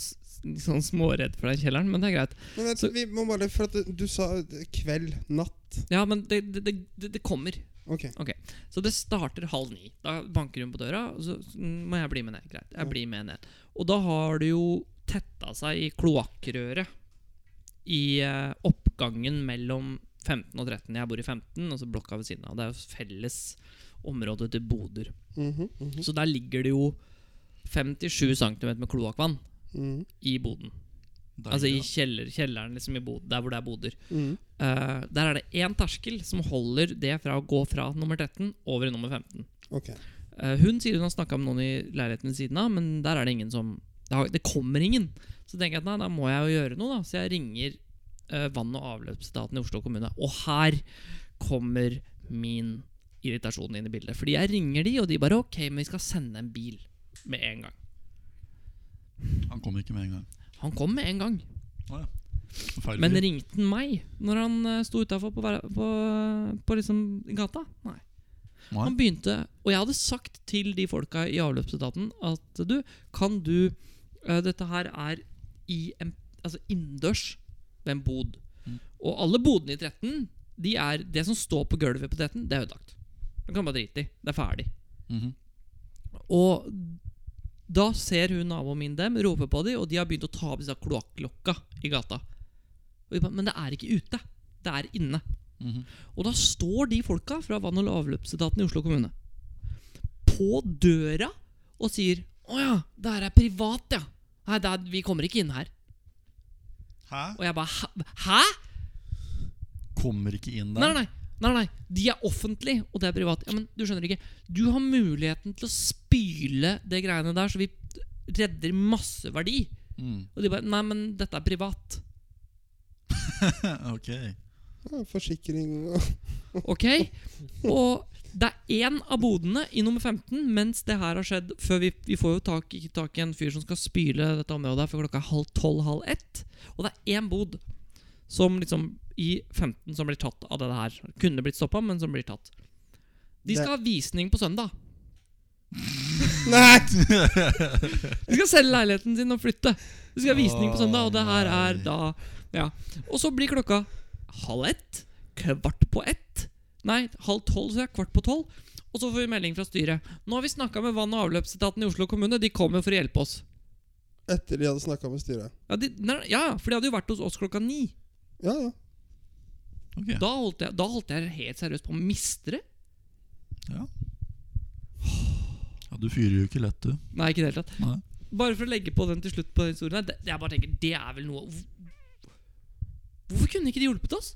Speaker 2: litt sånn småredd for den kjelleren, men det er greit.
Speaker 3: Men vet,
Speaker 2: Så-
Speaker 3: vi må bare For at du, du sa eh, kveld, natt.
Speaker 2: Ja, men det, det, det, det, det kommer.
Speaker 3: Ok.
Speaker 2: Så det starter halv ni. Da banker hun på døra, og så så må jeg bli med ned. Greit, jeg
Speaker 3: Ja.
Speaker 2: blir med ned. Og da har det jo tetta seg i kloakkrøret i eh, oppgangen mellom 15 og 13. Jeg bor i 15, og så blokka ved siden av. Det er jo felles område til boder.
Speaker 3: Mhm, mhm,
Speaker 2: Så der ligger det jo 57 cm med kloakkvann
Speaker 3: mhm,
Speaker 2: i boden.
Speaker 4: Det er
Speaker 2: Altså i
Speaker 4: hyggelig,
Speaker 2: kjeller, kjelleren, liksom i bod, der hvor det er boder.
Speaker 3: mhm.
Speaker 2: Eh, der er det én terskel som holder det fra å gå fra nummer 13 over i nummer 15.
Speaker 3: Ok.
Speaker 2: Eh, Hun sier hun har snakka med noen i leiligheten ved siden av, men der er det ingen som Det, har, det kommer ingen. Så tenker jeg at nei, da må jeg jo gjøre noe, da. Så jeg ringer eh, vann- og avløpsetaten i Oslo kommune. Og her kommer min irritasjon inn i bildet. Fordi jeg ringer de, og de bare OK, men vi skal sende en bil med en gang.
Speaker 4: da. Han kom ikke med en gang.
Speaker 2: Han kom med en gang.
Speaker 4: Å, ja. Feil
Speaker 2: Men
Speaker 4: fyr.
Speaker 2: ringte han meg når han eh, sto utafor på, hver- på, på liksom gata? Nei.
Speaker 4: Nei.
Speaker 2: Han begynte, og jeg hadde sagt til de folka i avløpsetaten at du, kan du eh, Dette her er i en, altså innendørs ved en bod.
Speaker 4: Mm.
Speaker 2: Og alle bodene i 13, de er, det som står på gulvet på 13, det er ødelagt. Det kan man bare drite i. Det er ferdig.
Speaker 4: Mhm.
Speaker 2: Og da ser hun naboen min dem, roper på dem, og de har begynt å ta opp disse kloakklokka i gata. Og vi ba, Men det er ikke ute. Det er inne.
Speaker 4: Mhm.
Speaker 2: Og da står de folka fra vann- og avløpsetaten i Oslo kommune på døra og sier Å ja, det her er privat, ja. Nei, det er, vi kommer ikke inn her.
Speaker 4: Hæ?
Speaker 2: Og jeg bare Hæ? Hæ?
Speaker 4: Kommer ikke inn der?
Speaker 2: Nei, nei, nei, nei. De er offentlig, og det er privat. Ja, men Du skjønner ikke. Du har muligheten til å spyle det greiene der, så vi redder masse verdi.
Speaker 4: Mm.
Speaker 2: Og de bare Nei, men dette er privat.
Speaker 4: ok.
Speaker 3: Ja, forsikring og
Speaker 2: Ok? Og Det er én av bodene i nummer 15 mens det her har skjedd. Før vi, vi får jo tak, ikke tak i en fyr som skal spyle dette området her før klokka er halv tolv, halv ett. Og det er én bod som liksom i 15 som blir tatt av det her. Kunne blitt stoppa, men som blir tatt. De skal ha visning på søndag.
Speaker 3: Nei!
Speaker 2: De skal selge leiligheten sin og flytte. De skal ha visning på søndag, og det her er
Speaker 4: Å, nei.
Speaker 2: da Ja. Og så blir klokka halv ett, kvart på ett Nei, halv tolv, så det er kvart på tolv. Og så får vi melding fra styret. Nå har vi snakka med vann- og avløpsetaten i Oslo kommune. De kommer for å hjelpe oss.
Speaker 3: Etter de hadde snakka med styret.
Speaker 2: Ja, de, nei, ja, for de hadde jo vært hos oss klokka ni.
Speaker 3: Ja, ja.
Speaker 4: Ok.
Speaker 2: Da holdt jeg, da holdt jeg helt seriøst på å miste det.
Speaker 4: Ja, du fyrer jo ikke lett, du.
Speaker 2: Nei, ikke i det hele tatt.
Speaker 4: Nei.
Speaker 2: Bare for å legge på den til slutt på den historien her. Det, jeg bare tenker, det er vel noe Hvorfor, hvorfor kunne ikke de hjulpet oss?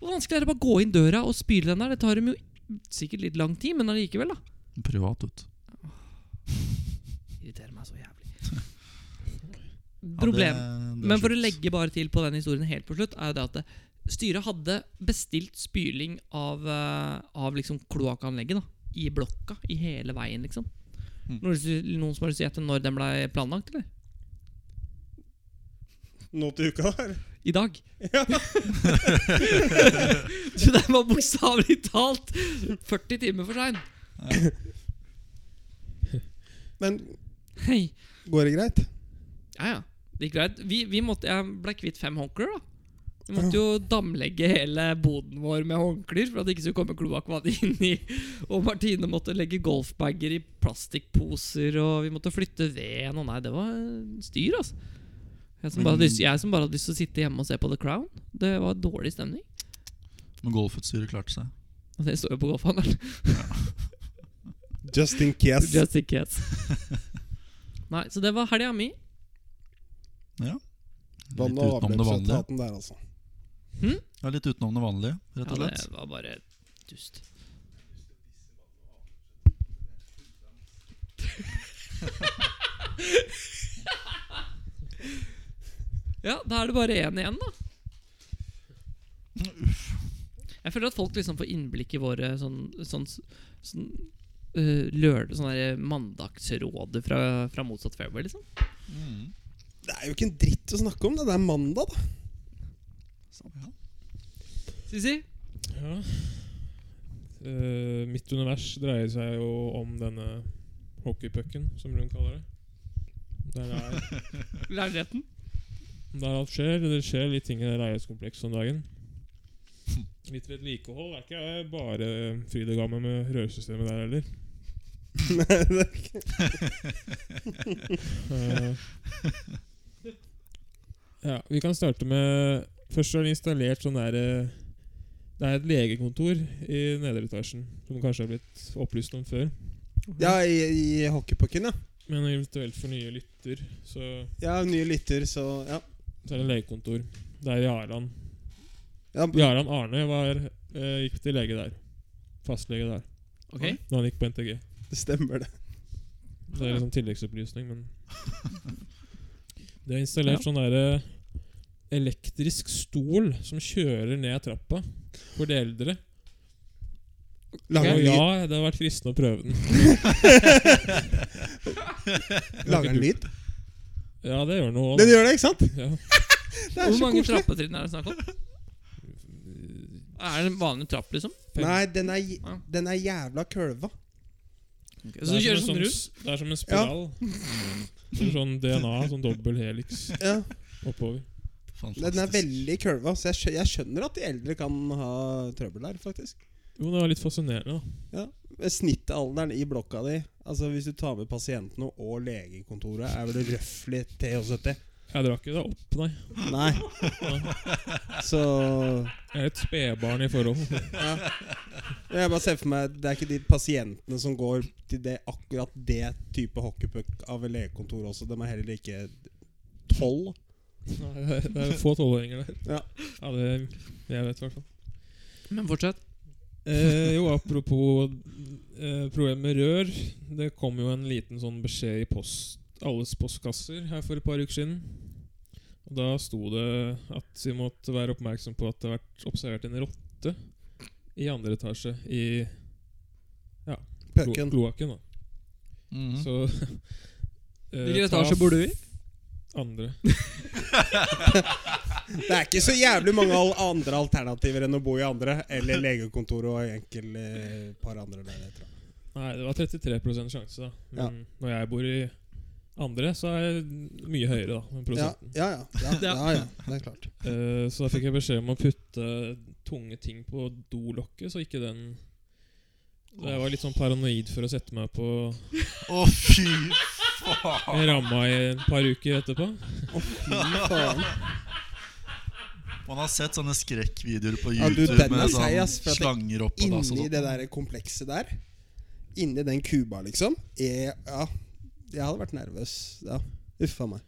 Speaker 2: Hvor vanskelig er det bare å gå inn døra og spyle den der? Det tar dem jo sikkert litt lang tid, men allikevel, da.
Speaker 4: Privat, vet du.
Speaker 2: Irriterer meg så jævlig.
Speaker 4: Ja,
Speaker 2: Problem.
Speaker 4: det- det er
Speaker 2: Men for å
Speaker 4: slutt.
Speaker 2: legge bare til på den historien helt på slutt, er jo det at det, styret hadde bestilt spyling av, eh, av liksom kloakkanlegget da, i blokka i hele veien, liksom.
Speaker 4: Mm.
Speaker 2: Noen, noen som har lyst til å gjette når den ble planlagt, eller?
Speaker 3: Nå til uka, eller?
Speaker 2: I dag. du, den var bokstavelig talt 40 timer for sein.
Speaker 3: Men
Speaker 2: Hei.
Speaker 3: går det greit?
Speaker 2: Ja, ja. Det gikk greit. Vi, vi måtte, jeg ble kvitt fem håndklær, da. Vi måtte jo damlegge hele boden vår med håndklær for at det ikke skulle komme kloakkvann inni. Og Martine måtte legge golfbager i plastikkposer, og vi måtte flytte veden. Og nei, det var styr, altså. Jeg som, bare hadde lyst, jeg som bare hadde lyst til å sitte hjemme og se på The Crown. Det var dårlig stemning.
Speaker 4: Men golfutstyret klarte seg.
Speaker 2: Og det står jo på golfhandelen.
Speaker 3: Just in case.
Speaker 2: Just in case. Nei, så det var helga mi.
Speaker 3: Vann-
Speaker 4: Litt
Speaker 3: og
Speaker 4: utenom det vanlige.
Speaker 3: avløpsetaten der, altså.
Speaker 4: Ja, litt utenom det vanlige,
Speaker 2: Ja,
Speaker 4: rett og slett.
Speaker 2: det var bare dust. ja, da er det bare én igjen, da. Jeg føler at folk liksom får innblikk i våre sånn, sånn, sånn øh, lørdag Sånn der mandagsrådet fra, fra motsatt fairway, liksom.
Speaker 4: Mm.
Speaker 3: Det er jo ikke en dritt å snakke om. Det Det er mandag, da.
Speaker 2: Sisi?
Speaker 1: Ja. Eh, mitt univers dreier seg jo om denne hockeypucken, som hun kaller det. Der er
Speaker 2: Leiligheten?
Speaker 1: Der alt skjer. Det skjer litt ting i det leilighetskomplekset om dagen. Litt vedlikehold er ikke bare fryd og gammen med rørsystemet der heller.
Speaker 3: Nei, det er ikke-
Speaker 1: Eh, ja, vi kan starte med Først har vi installert sånn der eh, Det er et legekontor i nedre etasjen, som kanskje har blitt opplyst om før.
Speaker 3: ja, i, i hockeypucken, ja.
Speaker 1: Men eventuelt for nye lytter, så,
Speaker 3: Jeg er ny lytter, så ja.
Speaker 1: så er det legekontor. Det er Jarland.
Speaker 3: ja
Speaker 1: Jarland Arne var, eh, gikk til lege der. Fastlege der.
Speaker 2: Ok.
Speaker 1: Da han gikk på NTG.
Speaker 3: det stemmer, det.
Speaker 1: Det er liksom tilleggsopplysning, men Det er installert sånn derre elektrisk stol som kjører ned trappa for de eldre.
Speaker 3: Lager
Speaker 1: Og
Speaker 3: den
Speaker 1: ja,
Speaker 3: lyd?
Speaker 1: det har vært fristende å prøve den.
Speaker 3: Lager den lyd?
Speaker 1: Ja, det gjør noe.
Speaker 3: Den gjør det, ikke sant?
Speaker 1: Ja.
Speaker 3: Det er
Speaker 2: Hvor
Speaker 3: så
Speaker 2: mange
Speaker 3: koselig.
Speaker 2: trappetrinn er det snakk om? Er det en vanlig trapp, liksom?
Speaker 3: Nei, den er, j-
Speaker 2: Ja.
Speaker 3: den er jævla kølva.
Speaker 1: Det
Speaker 2: Så
Speaker 1: er
Speaker 2: du kjører
Speaker 1: som
Speaker 2: sånn
Speaker 1: en sånn
Speaker 2: rundt?
Speaker 1: s- Det er som en spiral. Det er Sånn DNA, sånn dobbel helix
Speaker 3: Ja,
Speaker 1: oppover.
Speaker 4: Fantastisk.
Speaker 3: den er veldig kølva, så jeg, skjø- jeg skjønner at de eldre kan ha trøbbel der, faktisk.
Speaker 1: Jo, det var litt fascinerende, da.
Speaker 3: Snittalderen i blokka di, altså hvis du tar med pasientene og legekontoret, er vel røftlig 73?
Speaker 1: Jeg drar ikke det opp, nei.
Speaker 3: Nei. Så
Speaker 1: Jeg er et spedbarn i forhold.
Speaker 3: Jeg bare ser for meg Det er ikke de pasientene som går til det, akkurat det type hockeypuck av et legekontor også. De er heller ikke tolv.
Speaker 1: Nei, det er- det er få tolvåringer der.
Speaker 3: Ja.
Speaker 1: ja, det jeg vet i hvert fall.
Speaker 2: Men fortsett.
Speaker 1: Eh, jo, apropos eh, problemet med rør. Det kom jo en liten sånn beskjed i post, alles postkasser her for et par uker siden. Og Da sto det at vi måtte være oppmerksom på at det har vært observert en rotte i andre etasje i Ja.
Speaker 3: Pøken.
Speaker 1: Kloakken, da.
Speaker 4: Mhm.
Speaker 1: Så eh,
Speaker 2: Hvilken
Speaker 1: ta
Speaker 2: etasje bor du i?
Speaker 1: Andre.
Speaker 3: Det er ikke så jævlig mange al- andre alternativer enn å bo i andre, eller legekontor og enkel eh, par andre leiligheter.
Speaker 1: Nei, det var 33 sjanse, da. Men når jeg bor i andre, så er jeg mye høyere, da. med
Speaker 3: Ja,
Speaker 1: prosenten.
Speaker 3: ja, ja, ja, ja, ja. Det er klart.
Speaker 1: Eh, så da fikk jeg beskjed om å putte tunge ting på dolokket, så ikke den Så Jeg var litt sånn paranoid for å sette meg på
Speaker 4: Å, fy faen!
Speaker 1: ramma i et par uker etterpå.
Speaker 3: Fy faen.
Speaker 4: Man har sett sånne skrekkvideoer på
Speaker 3: Ja, du,
Speaker 4: YouTube
Speaker 3: den er
Speaker 4: med
Speaker 3: seig,
Speaker 4: sånn
Speaker 3: ass, for at det- sånn.
Speaker 4: slanger opp og sånn. dass og
Speaker 3: Inni
Speaker 4: sånt.
Speaker 3: det der komplekset der, inni den kuba, liksom jeg, Ja, jeg hadde vært nervøs. Ja, Uffa meg.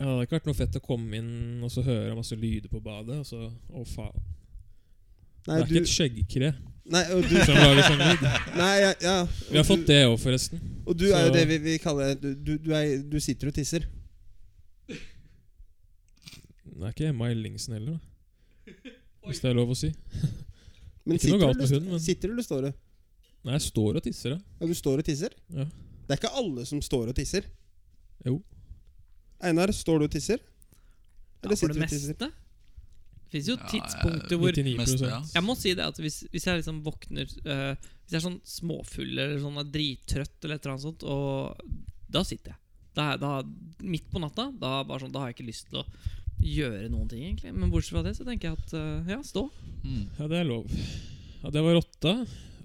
Speaker 1: Ja, det hadde ikke vært noe fett å komme inn og så høre masse lyder på badet, og så Å, faen. Det
Speaker 3: Nei,
Speaker 1: er
Speaker 3: du,
Speaker 1: ikke et skjeggkre
Speaker 3: nei, og du,
Speaker 1: som lager sånn lyd.
Speaker 3: nei ja, ja.
Speaker 1: Vi har fått
Speaker 3: det.
Speaker 1: det òg, forresten.
Speaker 3: Og du er jo
Speaker 1: så-
Speaker 3: det vi, vi kaller du, du, du, er, du sitter og tisser.
Speaker 1: Det er ikke Emma Ellingsen heller, da. Hvis det er lov å si.
Speaker 3: Men
Speaker 1: Ikke noe
Speaker 3: sitter,
Speaker 1: galt
Speaker 3: du,
Speaker 1: med
Speaker 3: eller-
Speaker 1: hunden, men-
Speaker 3: sitter du eller står du?
Speaker 1: Nei, jeg står og tisser, da.
Speaker 3: Ja, du står og tisser?
Speaker 1: Ja.
Speaker 3: Det er ikke alle som står og tisser.
Speaker 1: Jo.
Speaker 3: Einar, står du og tisser? Eller
Speaker 2: Ja, for
Speaker 3: sitter
Speaker 2: det
Speaker 3: du og tisser?
Speaker 2: meste. Det fins jo
Speaker 4: Ja,
Speaker 2: tidspunkter hvor
Speaker 1: 99
Speaker 4: Mest, ja.
Speaker 2: Jeg må si det at hvis, hvis jeg liksom våkner eh, Hvis jeg er sånn småfull eller sånn er drittrøtt eller et eller annet sånt, og da sitter jeg. Da, er- da, midt på natta. Da, er bare sånn, da har jeg ikke lyst til å gjøre noen ting, egentlig. Men bortsett fra det, så tenker jeg at eh, ja, stå.
Speaker 4: Mm.
Speaker 1: Ja, det er lov. Ja, det var rotta.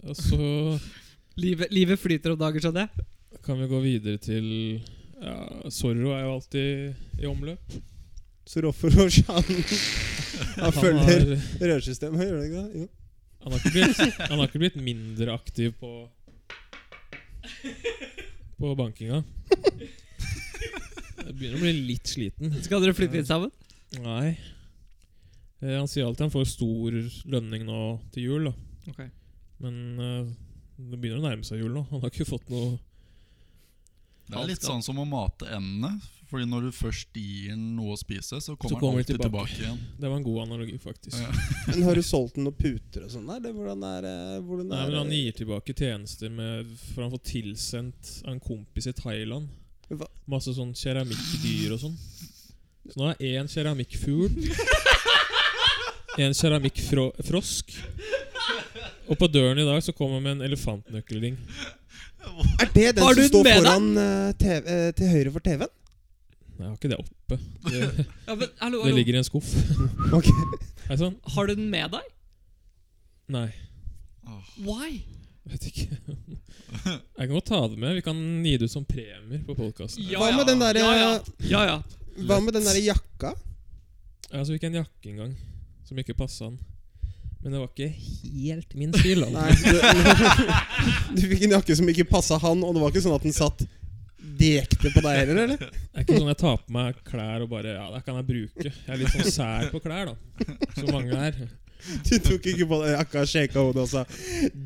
Speaker 1: Og så
Speaker 2: Livet, flyter om dager, skjønner jeg.
Speaker 1: kan vi gå videre til ja, Zorro er jo alltid i omløp.
Speaker 3: Så Roffer og Shan Han følger
Speaker 1: har,
Speaker 3: rørsystemet, gjør han ikke det? Jo.
Speaker 1: han, har ikke blitt, han har ikke blitt mindre aktiv på På bankinga. Jeg begynner å bli litt sliten.
Speaker 2: Skal dere flytte litt sammen?
Speaker 1: Nei. Eh, han sier alltid han får stor lønning nå til jul, da.
Speaker 2: Ok
Speaker 1: Men eh, det begynner å nærme seg jul nå. Han har ikke fått noe
Speaker 4: Det er litt sånn som å mate endene. Fordi når du først gir den noe å spise, så kommer, den
Speaker 1: kommer
Speaker 4: alltid
Speaker 1: den tilbake.
Speaker 4: tilbake, igjen.
Speaker 1: Det var en god analogi, faktisk.
Speaker 4: Ja.
Speaker 3: Men har du solgt den noen puter og sånn? Eller hvordan er eh, hvordan
Speaker 1: Nei,
Speaker 3: er,
Speaker 1: men Han
Speaker 3: eh,
Speaker 1: gir tilbake tjenester med, for han får tilsendt av en kompis i Thailand.
Speaker 3: Hva?
Speaker 1: Masse sånn keramikkdyr og sånn. Så nå har jeg én keramikkfugl. En keramikkfrosk. Og på døren i dag så kommer han med en elefantnøkkelring.
Speaker 3: Er det den
Speaker 2: Har
Speaker 3: som
Speaker 2: du den
Speaker 3: står
Speaker 2: med deg?
Speaker 3: foran eh, TV, eh, til høyre for TV-en?
Speaker 1: Nei, jeg har ikke det oppe. Det,
Speaker 2: ja, men, hallo,
Speaker 1: det
Speaker 2: hallo.
Speaker 1: ligger i en skuff.
Speaker 3: Ok.
Speaker 1: Er det sånn?
Speaker 2: Har du den med deg?
Speaker 1: Nei,
Speaker 2: Why?
Speaker 1: vet ikke. Jeg kan godt ta det med. Vi kan gi det ut som premier på podkasten.
Speaker 3: Hva med den der,
Speaker 2: ja, ja.
Speaker 3: eh,
Speaker 2: ja, ja.
Speaker 3: Hva med den derre jakka?
Speaker 1: Altså, vi fikk en jakke en gang som ikke passa han. Men det var ikke helt min stil. da.
Speaker 3: Nei, du, du fikk en jakke som ikke passa han, og det var ikke sånn at den satt direkte på deg heller, eller?
Speaker 1: Det er ikke sånn jeg tar på meg klær og bare Ja, det kan jeg bruke. Jeg er litt sånn sær på klær, da. Som mange er.
Speaker 3: Du tok ikke på deg jakka, shaka hodet og sa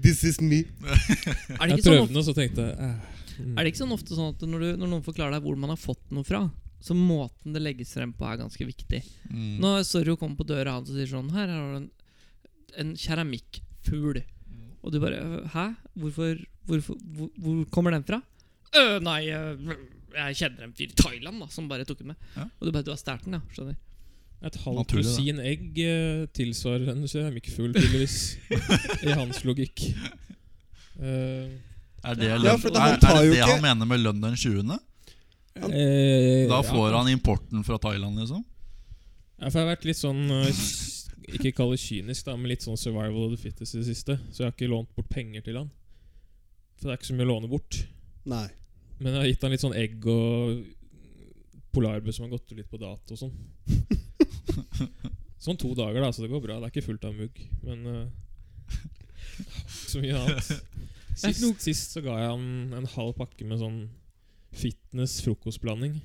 Speaker 3: This is me.
Speaker 2: Er det
Speaker 1: Jeg
Speaker 2: ikke sånn
Speaker 1: prøvde den, og så tenkte jeg eh, mm.
Speaker 2: Er det ikke sånn ofte sånn at når, du, når noen forklarer deg hvor man har fått noe fra, så måten det legges frem på, er ganske viktig?
Speaker 4: Mm.
Speaker 2: Når Zorro kommer på døra hans og sier sånn Her har du en, en keramikkfugl.
Speaker 4: Mm.
Speaker 2: Og du bare «Øh, Hæ? Hvorfor, hvorfor hvor, hvor kommer den fra? Øh, nei, øh, jeg kjenner en fyr i Thailand da som bare tok den med.
Speaker 4: Ja.
Speaker 2: Og du bare Du har stjålet den, ja. Skjønner.
Speaker 1: Et halvt
Speaker 4: Naturlig, da.
Speaker 1: rosin egg eh, tilsvarer en keramikkfugl, tydeligvis. I hans logikk. Eh,
Speaker 4: Er det, lønn,
Speaker 3: Ja, for han
Speaker 4: er,
Speaker 3: tar
Speaker 4: er
Speaker 3: jo
Speaker 4: det det
Speaker 3: ikke-
Speaker 4: han mener med lønn den 20.?
Speaker 1: eh,
Speaker 4: Da
Speaker 1: ja.
Speaker 4: får han importen fra Thailand, liksom?
Speaker 1: Ja, for jeg har vært litt sånn eh, s- Ikke kall det kynisk, da, men litt sånn survival of the fittest i det siste. Så jeg har ikke lånt bort penger til han. For det er ikke så mye å låne bort.
Speaker 3: Nei.
Speaker 1: Men jeg har gitt han litt sånn egg og polarbrød som har gått ut litt på dato og sånn. sånn to dager, da, så det går bra. Det er ikke fullt av mugg. Men eh, så mye annet. Sist, sist så ga jeg han en halv pakke med sånn fitness frokostblanding.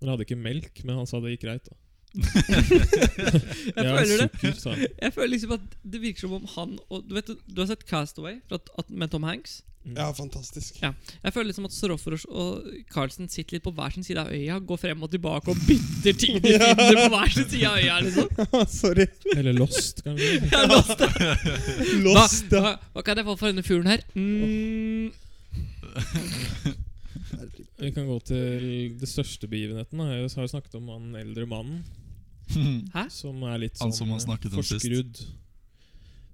Speaker 1: Han hadde ikke melk, men han sa det gikk greit. da
Speaker 2: Jeg
Speaker 1: Jeg har
Speaker 2: føler det.
Speaker 1: sukker, sa han.
Speaker 2: Jeg føler liksom at det virker som om han og Du vet, du har sett Castaway fra, at- med Tom Hanks?
Speaker 1: Mm.
Speaker 3: Ja, fantastisk.
Speaker 2: Jeg føler liksom at Soroforos og Carlsen sitter litt på hver sin side av øya, går frem og tilbake og bytter ting de
Speaker 3: Ja.
Speaker 2: finner på hver sin side av øya. liksom
Speaker 3: Sorry.
Speaker 1: Eller Lost, kanskje.
Speaker 2: Jeg er lost. Hva,
Speaker 3: Lost.
Speaker 2: hva, hva kan jeg få for denne fuglen her? Mm,
Speaker 1: Vi kan gå til det største begivenheten. da. Jeg har jo snakket om han eldre mannen som er litt
Speaker 4: Han
Speaker 1: sånn
Speaker 4: som han snakket om sist.
Speaker 1: forskrudd.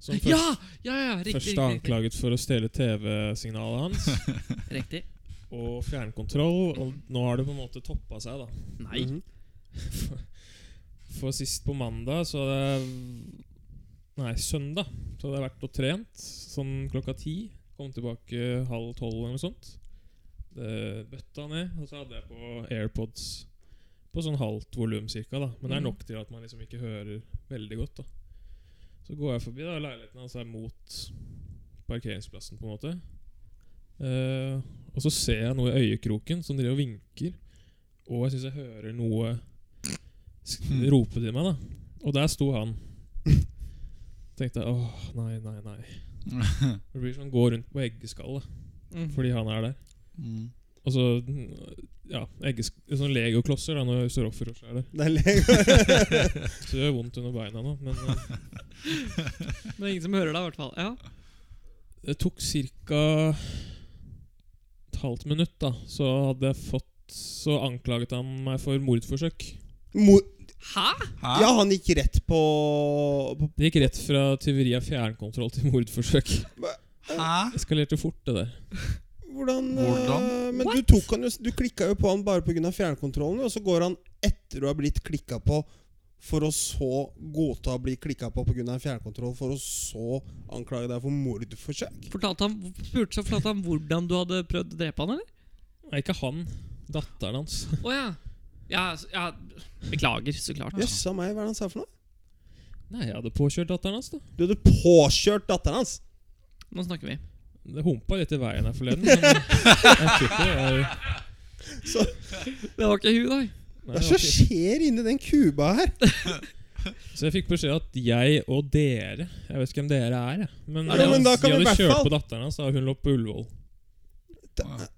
Speaker 1: Som først,
Speaker 2: ja, ja, ja, riktig.
Speaker 1: først er
Speaker 2: Riktig.
Speaker 1: anklaget for å stjele TV-signalet hans
Speaker 2: riktig, riktig.
Speaker 1: og fjernkontroll, og nå har det på en måte toppa seg, da.
Speaker 2: Nei.
Speaker 3: Mhm.
Speaker 1: For sist på mandag så hadde jeg Nei, søndag så hadde jeg vært og trent sånn klokka ti. Kom tilbake halv tolv eller noe sånt. Det bøtta ned, og så hadde jeg på AirPods på sånn halvt volum cirka. da Men det er
Speaker 2: Mm.
Speaker 1: nok til at man liksom ikke hører veldig godt. da Så går jeg forbi da leiligheten hans er mot parkeringsplassen, på en måte. Eh, og så ser jeg noe i øyekroken som driver og vinker, og jeg syns jeg hører noe sk-
Speaker 4: Hmm.
Speaker 1: rope til meg, da. Og der sto han. Tenkte jeg åh, nei, nei, nei. Det blir sånn gå rundt på eggeskallet
Speaker 2: Mm.
Speaker 1: fordi han er der.
Speaker 4: Mm.
Speaker 1: Og så mm, ja, eggesk sånn legoklosser da når Sør-Offer er der.
Speaker 3: Det er lenge.
Speaker 1: Så det gjør vondt under beina nå, men eh,
Speaker 2: Men ingen som hører deg, i hvert fall. Ja.
Speaker 1: det tok ca. et halvt minutt, da. Så hadde jeg fått Så anklaget han meg for mordforsøk.
Speaker 3: Mo-
Speaker 2: Hæ?
Speaker 4: Hæ?
Speaker 3: ja, han gikk rett på, på
Speaker 1: Det gikk rett fra tyveri av fjernkontroll til mordforsøk.
Speaker 4: Hæ?
Speaker 1: Eskalerte fort, det der.
Speaker 3: Hvordan, eh,
Speaker 4: Hvordan?
Speaker 3: Men du, tok han jo, du klikka jo på han bare pga. fjernkontrollen, og så går han etter å ha blitt klikka på, for å så godta å bli klikka på pga. fjernkontroll, for å så anklage deg for mordforsøk.
Speaker 2: Fortalte han, spurte så fortalte han hvordan du hadde prøvd å drepe han, eller?
Speaker 1: Nei, ikke han. Datteren hans.
Speaker 2: Å ja. Ja, s- ja. Beklager, så klart.
Speaker 3: Jøssa meg, hva er det han sa for noe?
Speaker 1: Nei, jeg hadde påkjørt datteren hans, da.
Speaker 3: Du hadde påkjørt datteren hans!
Speaker 2: Nå snakker vi.
Speaker 1: Det humpa litt i veien her forleden. Men jeg kutter, jeg,
Speaker 3: Så,
Speaker 2: Det var ikke hun, da.
Speaker 1: nei,
Speaker 3: hva er
Speaker 1: jeg
Speaker 3: det som
Speaker 1: orker
Speaker 3: skjer inni den kuba her?
Speaker 1: ikke. så jeg fikk beskjed at jeg og dere Jeg vet ikke hvem dere er, jeg. Men,
Speaker 3: Ja, men da kan
Speaker 1: de
Speaker 3: vi i
Speaker 1: hadde
Speaker 3: hvert
Speaker 1: kjørt
Speaker 3: fall-
Speaker 1: på datteren hans, da hun lå på Ullevål.
Speaker 3: eh,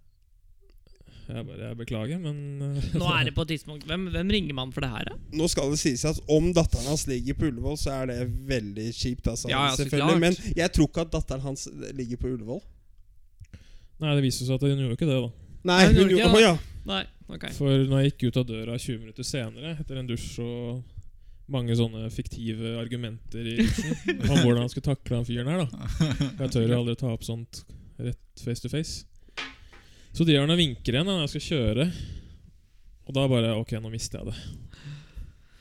Speaker 4: Ah,
Speaker 1: Jeg bare jeg beklager, men eh,
Speaker 2: Nå er det på et tidspunkt Hvem, hvem ringer man for det her, da?
Speaker 3: Nå skal det sies at om datteren hans ligger på Ullevål, så er det veldig kjipt. Altså,
Speaker 2: Ja, ja, så klart.
Speaker 3: selvfølgelig Men jeg tror ikke at datteren hans ligger på Ullevål.
Speaker 1: Nei, det viste seg at hun gjorde ikke det, da.
Speaker 3: Nei,
Speaker 2: Nei, hun
Speaker 3: hun
Speaker 2: gjorde
Speaker 3: gjorde
Speaker 2: ikke det.
Speaker 3: Å ja.
Speaker 2: Nei, ok.
Speaker 1: For når jeg gikk ut av døra 20 minutter senere, etter en dusj og mange sånne fiktive argumenter i dusjen om hvordan han skulle takle han fyren her, da Jeg tør jo aldri ta opp sånt rett face to face. Så driver han og vinker igjen da, når jeg skal kjøre, og da bare Ok, nå mister jeg det.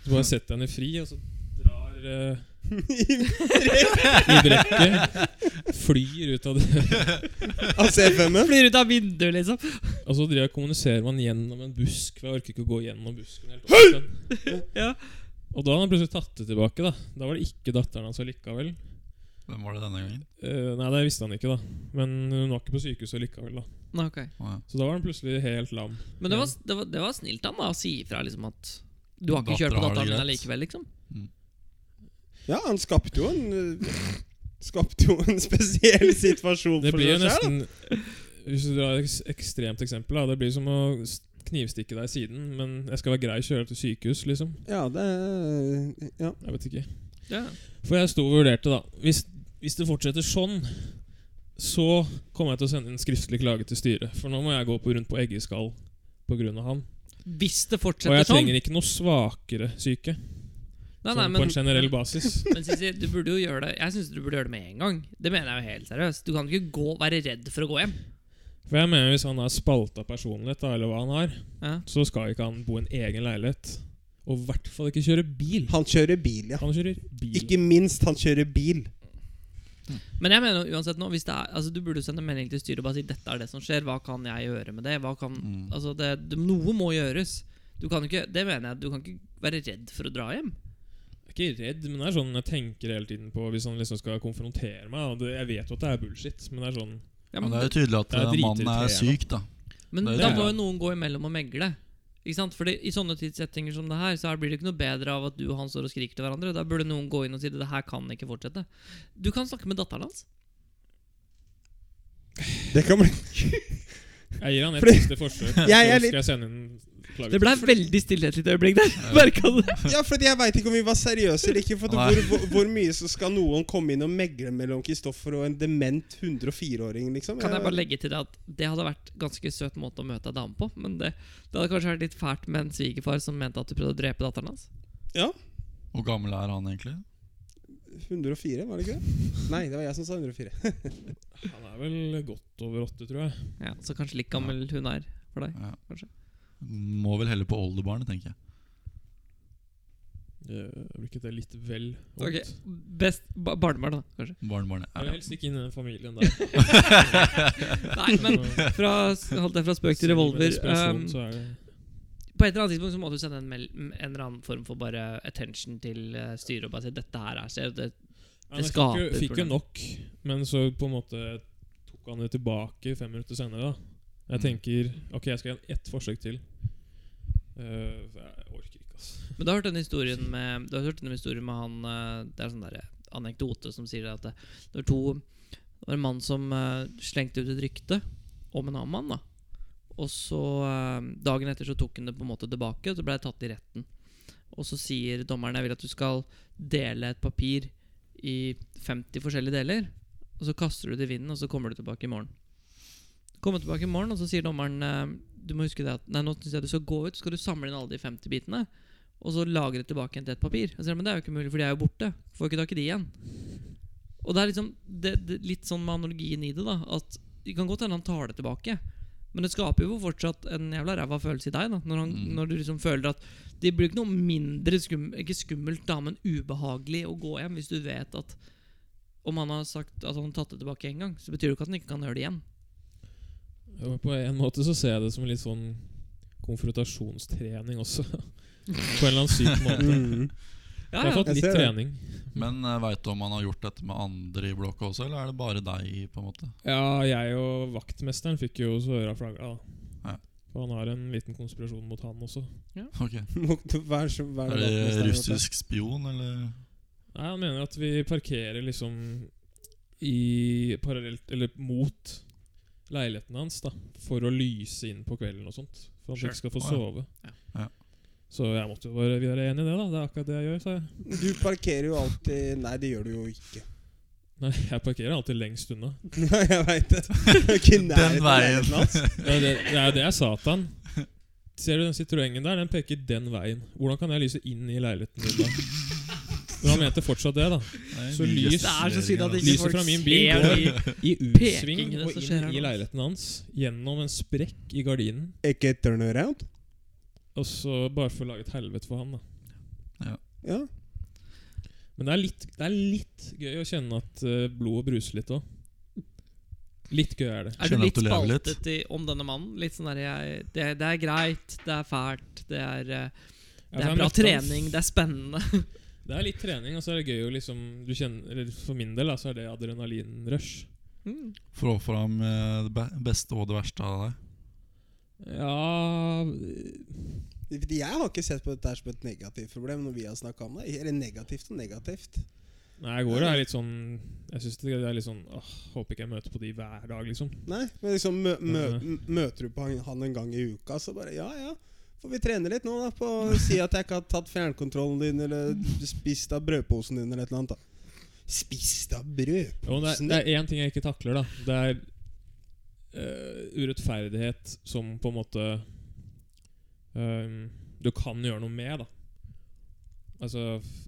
Speaker 1: Så bare setter jeg henne fri, og så drar eh, i brekket. Flyr ut av det.
Speaker 3: Altså FM-en?
Speaker 2: Flyr ut av vinduet, liksom.
Speaker 1: Og så driver jeg og kommuniserer man gjennom en busk, for jeg orker ikke å gå gjennom busken. helt opp igjen.
Speaker 2: Ja.
Speaker 1: Og da hadde han plutselig tatt det tilbake. Da Da var det ikke datteren hans allikevel.
Speaker 4: Hvem var det denne gangen?
Speaker 1: Eh, nei, det visste han ikke, da. Men hun var ikke på sykehuset allikevel. da
Speaker 2: Nei, ok.
Speaker 4: Å, ja.
Speaker 1: Så da var han plutselig helt lam.
Speaker 2: Men det var, det, var, det var snilt han da å si ifra liksom at du har ikke kjørt
Speaker 4: Datteren
Speaker 2: på
Speaker 4: har det
Speaker 2: datteren min
Speaker 4: greit.
Speaker 2: allikevel, liksom.
Speaker 3: Ja, han skapte jo en øh, Skapte jo en spesiell situasjon
Speaker 1: Det
Speaker 3: for
Speaker 1: blir jo
Speaker 3: seg selv,
Speaker 1: nesten Hvis du drar et eks- ekstremt eksempel, da. Det blir som å s- knivstikke deg i siden, men jeg skal være grei og kjøre til sykehus, liksom.
Speaker 3: da. Ja, det er- ja.
Speaker 1: Jeg vet ikke.
Speaker 2: Ja.
Speaker 1: For jeg sto og vurderte, da. Hvis, hvis det fortsetter sånn, så kommer jeg til å sende en skriftlig klage til styret. For nå må jeg gå på rundt på Eggeskall pga. han.
Speaker 2: Hvis det
Speaker 1: Og
Speaker 2: fortsetter
Speaker 1: jeg
Speaker 2: sånn
Speaker 1: trenger ikke noe svakere syke.
Speaker 2: Nei, nei,
Speaker 1: sånn på
Speaker 2: men,
Speaker 1: en generell basis.
Speaker 2: men Sissi, du burde jo gjøre det Jeg syns du burde gjøre det med en gang. Det mener jeg jo helt seriøst. Du kan ikke gå, være redd for å gå hjem.
Speaker 1: For jeg mener Hvis han har spalta personlighet, da, eller hva han har,
Speaker 2: Ja.
Speaker 1: så skal ikke han bo i en egen leilighet. Og i hvert fall ikke kjøre bil.
Speaker 3: Han kjører bil, ja.
Speaker 1: Han kjører bil.
Speaker 3: Ikke minst, han kjører bil.
Speaker 2: Men jeg mener jo uansett nå hvis det er, altså, du burde jo sende en melding til styret og bare si dette er det som skjer, hva kan jeg gjøre med det? Hva kan,
Speaker 4: Mm.
Speaker 2: altså, det, det noe må gjøres. Du kan ikke, det mener jeg, du kan ikke være redd for å dra hjem.
Speaker 1: Jeg er ikke redd, men det er sånn jeg tenker hele tiden på hvis han liksom skal konfrontere meg. Og det, jeg vet jo at det er bullshit, men det er sånn
Speaker 2: Ja,
Speaker 4: Men
Speaker 2: men,
Speaker 4: det er jo tydelig at
Speaker 1: Det er
Speaker 4: eh, mannen er
Speaker 1: dritirriterende.
Speaker 4: syk, da.
Speaker 2: men
Speaker 4: det er
Speaker 2: da
Speaker 1: jo-
Speaker 2: må jo noen gå imellom og megle. Ikke sant? Fordi I sånne tidssettinger som det her Så her blir det ikke noe bedre av at du og han står og skriker til hverandre. Da burde noen gå inn og si det her kan ikke fortsette. Du kan snakke med datteren hans.
Speaker 3: Det kan bli
Speaker 1: Jeg gir han et
Speaker 3: Fordi-
Speaker 1: siste forsøk, så
Speaker 3: Jeg er litt-
Speaker 1: skal jeg sende en klage.
Speaker 2: Det ble veldig stille et lite øyeblikk der. Merka du det?
Speaker 3: Ja, for jeg veit ikke om vi var seriøse eller ikke. For at
Speaker 4: Nei.
Speaker 3: hvor, hvor, hvor mye så skal noen komme inn og megle mellom Kristoffer og en dement 104-åring, liksom?
Speaker 2: Kan jeg bare legge til det at det hadde vært ganske søt måte å møte ei dame på, men det, det hadde kanskje vært litt fælt med en svigerfar som mente at du prøvde å drepe datteren hans.
Speaker 3: Ja.
Speaker 4: Hvor gammel er han egentlig?
Speaker 3: 104, var det ikke det? Nei, det var jeg som sa 104.
Speaker 1: Han er vel godt over åtte, tror jeg.
Speaker 2: Ja, Så kanskje litt gammel hun er for deg.
Speaker 4: Ja.
Speaker 2: Kanskje.
Speaker 4: Må vel heller på oldebarnet, tenker jeg.
Speaker 1: Det blir ikke det litt vel vondt?
Speaker 2: Ok, Best ba barnebarn, da, kanskje.
Speaker 4: Barnebarnet.
Speaker 1: Jeg vil
Speaker 4: Ja.
Speaker 1: helst ikke inn i den familien der.
Speaker 2: Nei, men
Speaker 1: Så-
Speaker 2: fra, holdt jeg fra spøk til
Speaker 1: selv med
Speaker 2: revolver.
Speaker 1: desperasjon,
Speaker 2: ehm,
Speaker 1: så er det
Speaker 2: På et eller annet tidspunkt så må du sende en, mel en eller annen form for bare attention til eh, styret og bare si dette her er skjevt. det-
Speaker 1: Ja, men jeg
Speaker 2: skaper
Speaker 1: fikk jo, fikk jo
Speaker 2: problemer.
Speaker 1: nok, men så på en måte tok han det tilbake fem minutter senere. da Jeg
Speaker 4: Mm.
Speaker 1: tenker ok, jeg skal gjøre ett forsøk til. Eh, for jeg orker ikke, altså.
Speaker 2: Men du har hørt denne historien med, du har hørt denne historien med han eh, Det er en sånn der anekdote som sier at det, det var to Det var en mann som eh, slengte ut et rykte om en annen mann. da Og så eh, Dagen etter så tok han det på en måte tilbake, og så ble det tatt i retten. Og så sier dommeren jeg vil at du skal dele et papir i 50 forskjellige deler. Og så kaster du det i vinden, og så kommer du tilbake i morgen. Kommer tilbake i morgen, og så sier dommeren eh, Du må huske det at Nei, nå synes jeg du skal gå ut, så skal du samle inn alle de 50 bitene. Og så lager det tilbake igjen til et papir. Jeg sier, men det er jo ikke mulig, for de er jo borte. Får ikke tak i de igjen. Og det er liksom det, det, litt sånn med analogien i det, da. At det kan godt hende han tar det tilbake. Men det skaper jo fortsatt en jævla ræva følelse i deg, da. Når, han,
Speaker 4: Mm.
Speaker 2: når du liksom føler at det blir ikke noe mindre skum, ikke skummelt, da, men ubehagelig å gå hjem hvis du vet at om han har sagt at han har tatt det tilbake en gang, så betyr det jo ikke at han ikke kan gjøre det igjen.
Speaker 1: Jo, På en måte så ser jeg det som litt sånn konfrontasjonstrening også. på en eller annen syk måte.
Speaker 2: Ja,
Speaker 1: Jeg har
Speaker 2: ja.
Speaker 1: fått
Speaker 3: Jeg
Speaker 1: litt
Speaker 3: ser det.
Speaker 1: trening.
Speaker 4: Men uh, veit du om han har gjort dette med andre i blokka også, eller er det bare deg? på en måte?
Speaker 1: Ja, jeg og vaktmesteren fikk jo så øra flagra, da.
Speaker 4: Ja.
Speaker 1: For han har en liten konspirasjon mot han også.
Speaker 4: Ok,
Speaker 3: Vær så vær så god,
Speaker 4: Er det
Speaker 3: Øystein,
Speaker 4: russisk spion, eller?
Speaker 1: Nei, han mener at vi parkerer liksom i parallelt Eller mot leiligheten hans, da. For å lyse inn på kvelden og sånt. For at
Speaker 2: Sure.
Speaker 1: vi ikke skal få
Speaker 4: Å, ja.
Speaker 1: sove.
Speaker 2: Ja.
Speaker 4: Ja.
Speaker 1: Så jeg måtte jo bare være enig i det, da. Det er akkurat det jeg gjør, sa jeg.
Speaker 3: dette. Du parkerer jo alltid Nei, det gjør du jo ikke.
Speaker 1: Nei, jeg parkerer alltid lengst unna.
Speaker 3: Nei, jeg veit det. Ikke i nærheten av
Speaker 4: veien.
Speaker 3: leiligheten hans.
Speaker 1: Det er det, det, er jo det jeg sa til han. Ser du den Citroengen der? Den peker den veien. Hvordan kan jeg lyse inn i leiligheten din da? Men han mente fortsatt det, da. Så lys-
Speaker 2: Det er så synd at
Speaker 4: altså.
Speaker 2: ikke
Speaker 1: Lyset
Speaker 2: folk
Speaker 1: fra min bil
Speaker 2: ser
Speaker 1: går
Speaker 2: de-
Speaker 1: i U-sving
Speaker 2: pekingene
Speaker 1: og
Speaker 2: som skjer
Speaker 1: inn
Speaker 2: her
Speaker 1: i
Speaker 2: nå.
Speaker 1: leiligheten hans. Gjennom en sprekk i gardinen.
Speaker 3: Ikke turn around?
Speaker 1: Og så bare for å lage et helvete for han, da.
Speaker 3: Ja.
Speaker 1: Men det er litt, det er litt gøy å kjenne at eh, blodet bruser litt òg. Litt gøy er det.
Speaker 2: Er du
Speaker 4: Skjønner at
Speaker 2: litt
Speaker 4: du lever litt.
Speaker 2: spaltet i, om denne mannen? Litt sånn der, jeg, det, det er greit, det er fælt, det er, eh,
Speaker 1: Ja,
Speaker 2: det
Speaker 1: for
Speaker 2: er
Speaker 1: Altså, jeg
Speaker 2: bra
Speaker 1: møtte han-
Speaker 2: trening, det er spennende.
Speaker 1: Det er litt trening, og så er det gøy å liksom du kjenner, eller For min del da, så er det adrenalinrush.
Speaker 2: Mm.
Speaker 4: Få fram eh, det be- beste og det verste av deg.
Speaker 1: Ja eh,
Speaker 3: Fordi Jeg har ikke sett på dette her som et negativt problem når vi har snakka om det. Eller negativt og negativt.
Speaker 1: Nei, jeg går og er litt sånn Jeg syns det er litt sånn åh, Håper ikke jeg møter på de hver dag, liksom.
Speaker 3: Nei, men liksom mø mø
Speaker 1: Mhm.
Speaker 3: Møter du på han, han en gang i uka, så bare ja, ja. Får vi trene litt nå, da? På å si at jeg ikke har tatt fjernkontrollen din, eller spist av brødposen din, eller et eller annet. da Spist av
Speaker 1: Jo, det,
Speaker 3: brødposen
Speaker 1: er, det er én ting jeg ikke takler, da. Det er eh, urettferdighet som på en måte eh, Du kan gjøre noe med, da. Altså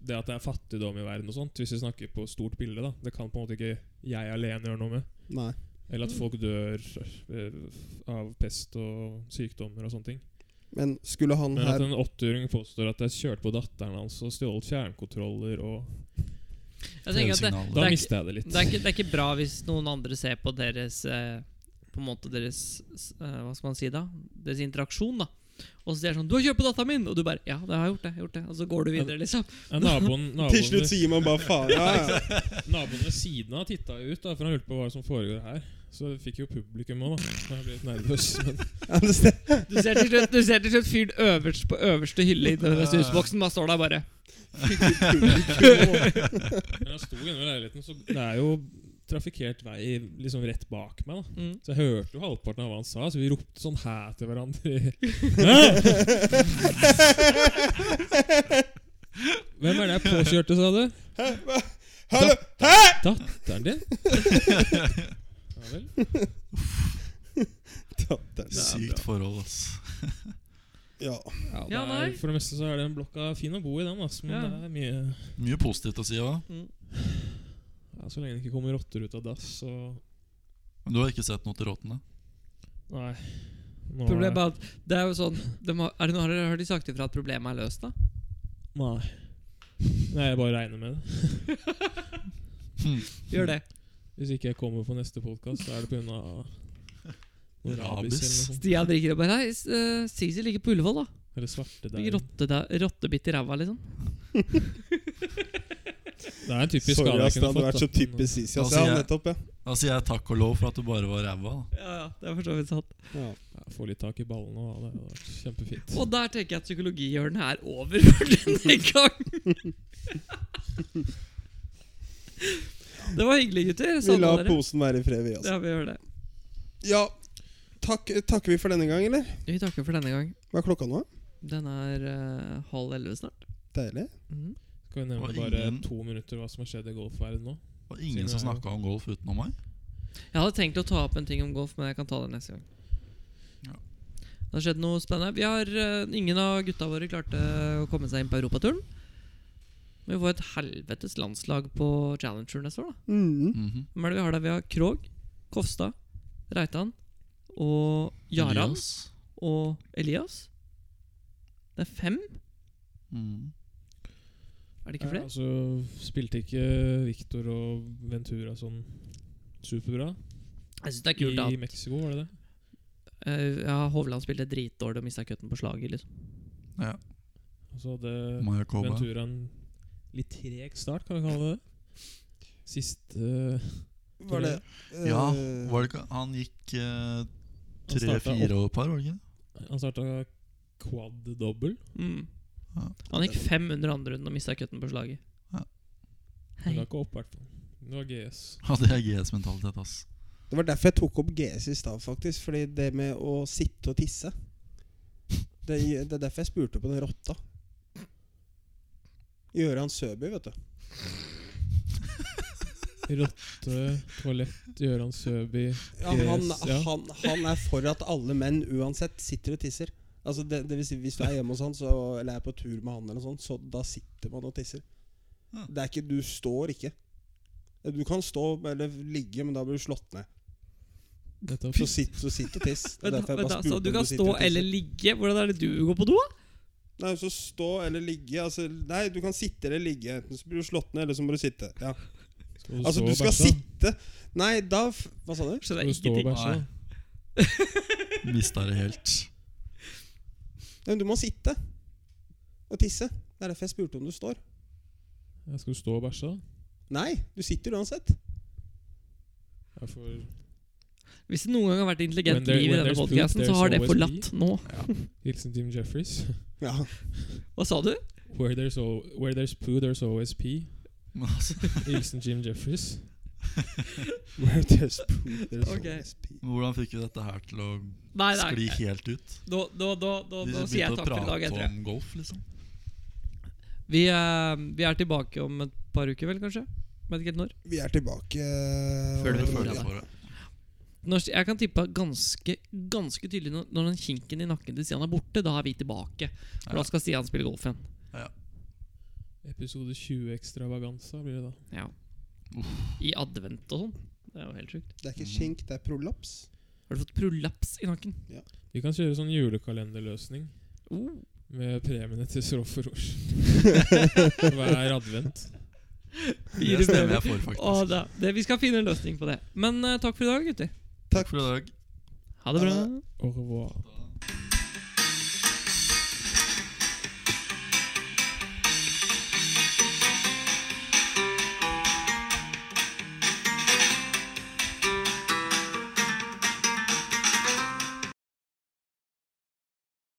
Speaker 1: Det at det er fattigdom i verden og sånt, hvis vi snakker på stort bilde, da. Det kan på en måte ikke jeg alene gjøre noe med.
Speaker 3: Nei.
Speaker 1: Eller at folk dør eh, av pest og sykdommer og sånne ting.
Speaker 3: Men skulle han
Speaker 1: Men at
Speaker 3: her
Speaker 1: en åtteåring påstår at jeg kjørte på datteren hans og stjålet fjernkontroller og
Speaker 2: Jeg tenker at det,
Speaker 4: Tv-signaler.
Speaker 1: Da
Speaker 2: er ikke-
Speaker 1: mister jeg det litt.
Speaker 2: det, er ikke, det er ikke bra hvis noen andre ser på deres eh, På en måte deres eh, Hva skal man si da? Deres interaksjon, da. Og så sier jeg sånn 'Du har kjøpt på datteren min!' Og du bare 'Ja, det har jeg gjort, det'. jeg har gjort det Og så går du videre, liksom.
Speaker 1: Ja, naboen, naboen,
Speaker 3: Til slutt sier man bare faen. Ja, ja.
Speaker 1: Naboen ved siden av titta jo ut, da, for han lurte på hva som foregår her. Så fikk jo publikum òg, da. Jeg ble litt nervøs. Men
Speaker 3: Ja, det stemmer.
Speaker 2: Du ser til slutt, du ser til slutt fyren øverst på øverste hylle i den husboksen. Bare står der bare
Speaker 1: men jeg sto inne ved leiligheten, så det er jo trafikkert vei liksom rett bak meg. da
Speaker 2: Mm.
Speaker 1: Så jeg hørte jo halvparten av hva han sa, så vi ropte sånn hæ til hverandre. Hæ? Hvem er det jeg påkjørte, sa du?
Speaker 3: Hallo!
Speaker 1: Datteren din? Ja vel.
Speaker 4: Sykt forhold, ass.
Speaker 3: Ja.
Speaker 1: Ja, det
Speaker 2: Ja,
Speaker 1: er,
Speaker 2: nei.
Speaker 1: for det meste så er den blokka fin å bo i, den. ass, men
Speaker 2: Ja.
Speaker 1: det er mye
Speaker 4: Mye positivt å si òg.
Speaker 2: mm,
Speaker 1: ja, Så lenge det ikke kommer rotter ut av dass, så
Speaker 4: Men du har ikke sett noe til råtene?
Speaker 1: Nei. Nå er
Speaker 2: Problemet er at det er jo sånn de har, er det, noe- Har dere har de sagt ifra at problemet er løst, da?
Speaker 1: Nei. Nei, jeg bare regner med det.
Speaker 2: Gjør det.
Speaker 1: Hvis ikke jeg kommer på neste podkast, så er det pga. noe rabis eller noe
Speaker 4: Rabis.
Speaker 1: sånt.
Speaker 2: Stian drikker og bare Hei, Sisi ligger på Ullevål, da.
Speaker 1: Eller svartedauden.
Speaker 2: Ligger rotte der- Rottebitt i ræva, liksom.
Speaker 1: Det er en typisk
Speaker 3: Sorry,
Speaker 1: skade jeg
Speaker 3: ass. Det hadde
Speaker 1: kunne fått. altså.
Speaker 3: vært så
Speaker 1: da.
Speaker 3: typisk Sisi. ass.
Speaker 4: Da sier
Speaker 3: Ja,
Speaker 4: jeg-
Speaker 3: nettopp, ja.
Speaker 4: Da sier jeg takk og lov for at du bare var ræva. da.
Speaker 2: Ja, ja, det er for så vidt sant.
Speaker 3: ja.
Speaker 1: Ja, Få litt tak i ballene og det hadde vært kjempefint.
Speaker 2: Og der tenker jeg at psykologihjørnet er over for denne gang. Det var hyggelig, gutter.
Speaker 3: Vi
Speaker 2: Savna
Speaker 3: lar
Speaker 2: dere.
Speaker 3: posen være i fred, vi, altså.
Speaker 2: Ja, vi gjør det.
Speaker 3: Sånn Ja. Takk, takker vi for denne gang, eller?
Speaker 2: Vi takker for denne gang.
Speaker 3: Hva er klokka nå?
Speaker 2: Den er eh, halv elleve snart.
Speaker 3: Deilig.
Speaker 2: Mhm.
Speaker 1: Skal vi nevne
Speaker 4: Og
Speaker 1: bare
Speaker 4: ingen-
Speaker 1: to minutter hva som har skjedd i golfverdenen nå?
Speaker 4: Og ingen som snakka om golf utenom meg.
Speaker 2: Jeg hadde tenkt å ta opp en ting om golf, men jeg kan ta det neste gang.
Speaker 4: Ja.
Speaker 2: Det har skjedd noe spennende. Vi har, eh, ingen av gutta våre klarte å komme seg inn på europaturen. Men vi får et helvetes landslag på Challenger neste år, da.
Speaker 3: Mhm.
Speaker 4: Mhm.
Speaker 2: Hvem er det vi har der? Vi har Krog, Kofstad, Reitan og Jaran
Speaker 4: Elias.
Speaker 2: og Elias. Det er fem,
Speaker 4: Mhm.
Speaker 2: er det ikke
Speaker 1: Ja,
Speaker 2: flere?
Speaker 1: altså, spilte ikke Victor og Ventura sånn superbra?
Speaker 2: Jeg synes det er kult
Speaker 1: I
Speaker 2: at
Speaker 1: Mexico, var det det?
Speaker 2: Eh, ja, Hovland spilte dritdårlig og mista cutten på slaget. liksom
Speaker 1: Og så hadde
Speaker 4: Mayakoba.
Speaker 1: Altså, Ventura en litt treg start, kan vi kalle det det? Siste eh,
Speaker 3: Var det eh,
Speaker 4: Ja, var det ikke Han gikk eh,
Speaker 1: Han starta
Speaker 4: tre-fire år par, var det ikke? det?
Speaker 1: Han starta quad-dobbel.
Speaker 2: Mm.
Speaker 4: Ja.
Speaker 2: Han gikk fem under andre runden og mista cutten på slaget.
Speaker 4: Ja.
Speaker 1: Men
Speaker 2: Hei.
Speaker 1: det var ikke opp, i hvert fall. Det var GS.
Speaker 4: Ja, det er GS-mentalitet, ass.
Speaker 3: Det var derfor jeg tok opp GS i stad, faktisk. Fordi det med å sitte og tisse Det, det er derfor jeg spurte på den rotta. Gøran Søby, vet du.
Speaker 1: Rotte, toalett, Gøran Søby
Speaker 3: Ja, han,
Speaker 1: GS, ja.
Speaker 3: han, han er for at alle menn uansett sitter og tisser. Altså det, det vil si, Hvis du er hjemme hos han så, eller er på tur med han, eller noe sånt, så da sitter man og tisser.
Speaker 4: Ja.
Speaker 3: Det er ikke, Du står ikke. Du kan stå eller ligge, men da blir du slått ned.
Speaker 1: Nettopp.
Speaker 3: Så sitt, så sitt og tiss. Det er derfor
Speaker 2: Vent,
Speaker 3: jeg
Speaker 2: vent,
Speaker 3: bare
Speaker 2: da,
Speaker 3: spurte
Speaker 2: så
Speaker 3: om
Speaker 2: du kan
Speaker 3: sitter
Speaker 2: stå
Speaker 3: og tisser.
Speaker 2: eller ligge? Hvordan er det du går på do? da?
Speaker 3: Nei, så stå eller ligge. Altså, nei, du kan sitte eller ligge. Enten så blir du slått ned, eller så må du sitte. Ja.
Speaker 1: Skal
Speaker 3: Altså,
Speaker 1: stå
Speaker 3: du
Speaker 1: og
Speaker 3: skal
Speaker 1: bæsje, da?
Speaker 3: sitte Nei, da f- Hva sa du?
Speaker 2: Skjønner jeg
Speaker 1: Skal du stå og
Speaker 2: ingenting.
Speaker 1: bæsje? da?
Speaker 4: Nei. Mista det helt.
Speaker 3: Nei, men du må sitte og tisse. Det er derfor jeg spurte om du står.
Speaker 1: Ja, Skal du stå og bæsje? da?
Speaker 3: Nei, du sitter uansett.
Speaker 1: Ja, for
Speaker 2: Hvis det noen gang har vært
Speaker 1: When
Speaker 2: intelligent
Speaker 1: there-
Speaker 2: liv i
Speaker 1: when
Speaker 2: denne
Speaker 1: there's poop,
Speaker 2: podkasten, så
Speaker 1: there's
Speaker 2: har det
Speaker 1: always
Speaker 2: forlatt nå.
Speaker 1: hilsen Team Jeffries.
Speaker 3: Ja.
Speaker 2: Hva sa du?
Speaker 1: Where there's, al where there's poo, there's always pee.
Speaker 4: Men altså,
Speaker 1: Hilsen Jim Jeffries.
Speaker 3: Where there's poo, there's
Speaker 2: Ok.
Speaker 3: always pee.
Speaker 4: hvordan fikk vi dette her til å
Speaker 2: Nei,
Speaker 4: skli
Speaker 2: nei.
Speaker 4: helt ut?
Speaker 2: Da, da, da, da,
Speaker 4: Vi
Speaker 2: da sier jeg
Speaker 4: begynte å
Speaker 2: takk for i dag,
Speaker 4: prate
Speaker 2: jeg tror jeg.
Speaker 4: om golf, liksom.
Speaker 2: Vi, eh, vi er tilbake om et par uker, vel, kanskje? Vet ikke helt når.
Speaker 3: Vi er tilbake
Speaker 2: Før du
Speaker 4: Det
Speaker 2: vet
Speaker 4: føler
Speaker 2: ordet av
Speaker 4: jeg
Speaker 2: det.
Speaker 4: for det.
Speaker 2: når jeg kan tippe ganske, ganske tydelig når, når den kinken i nakken til Stian er borte, da er vi tilbake. For
Speaker 4: Ja.
Speaker 2: da skal Stian spille golf igjen.
Speaker 1: Episode 20 Extravaganza blir det da.
Speaker 2: Ja. I advent og sånn. Det er jo helt sjukt.
Speaker 3: Det er ikke skink, det er prolaps.
Speaker 2: Har du fått prolaps i nakken?
Speaker 1: Vi kan kjøre sånn julekalenderløsning
Speaker 2: Oh.
Speaker 1: med premiene til Sroffer Ors. Hver advent.
Speaker 4: Det stemmer jeg for,
Speaker 2: Å,
Speaker 4: faktisk.
Speaker 2: da. Det, vi skal finne en løsning på det. Men eh, takk for i dag, gutter.
Speaker 4: Takk for i dag.
Speaker 2: Ha det bra.
Speaker 3: Ha det.
Speaker 1: Au revoir.
Speaker 4: Da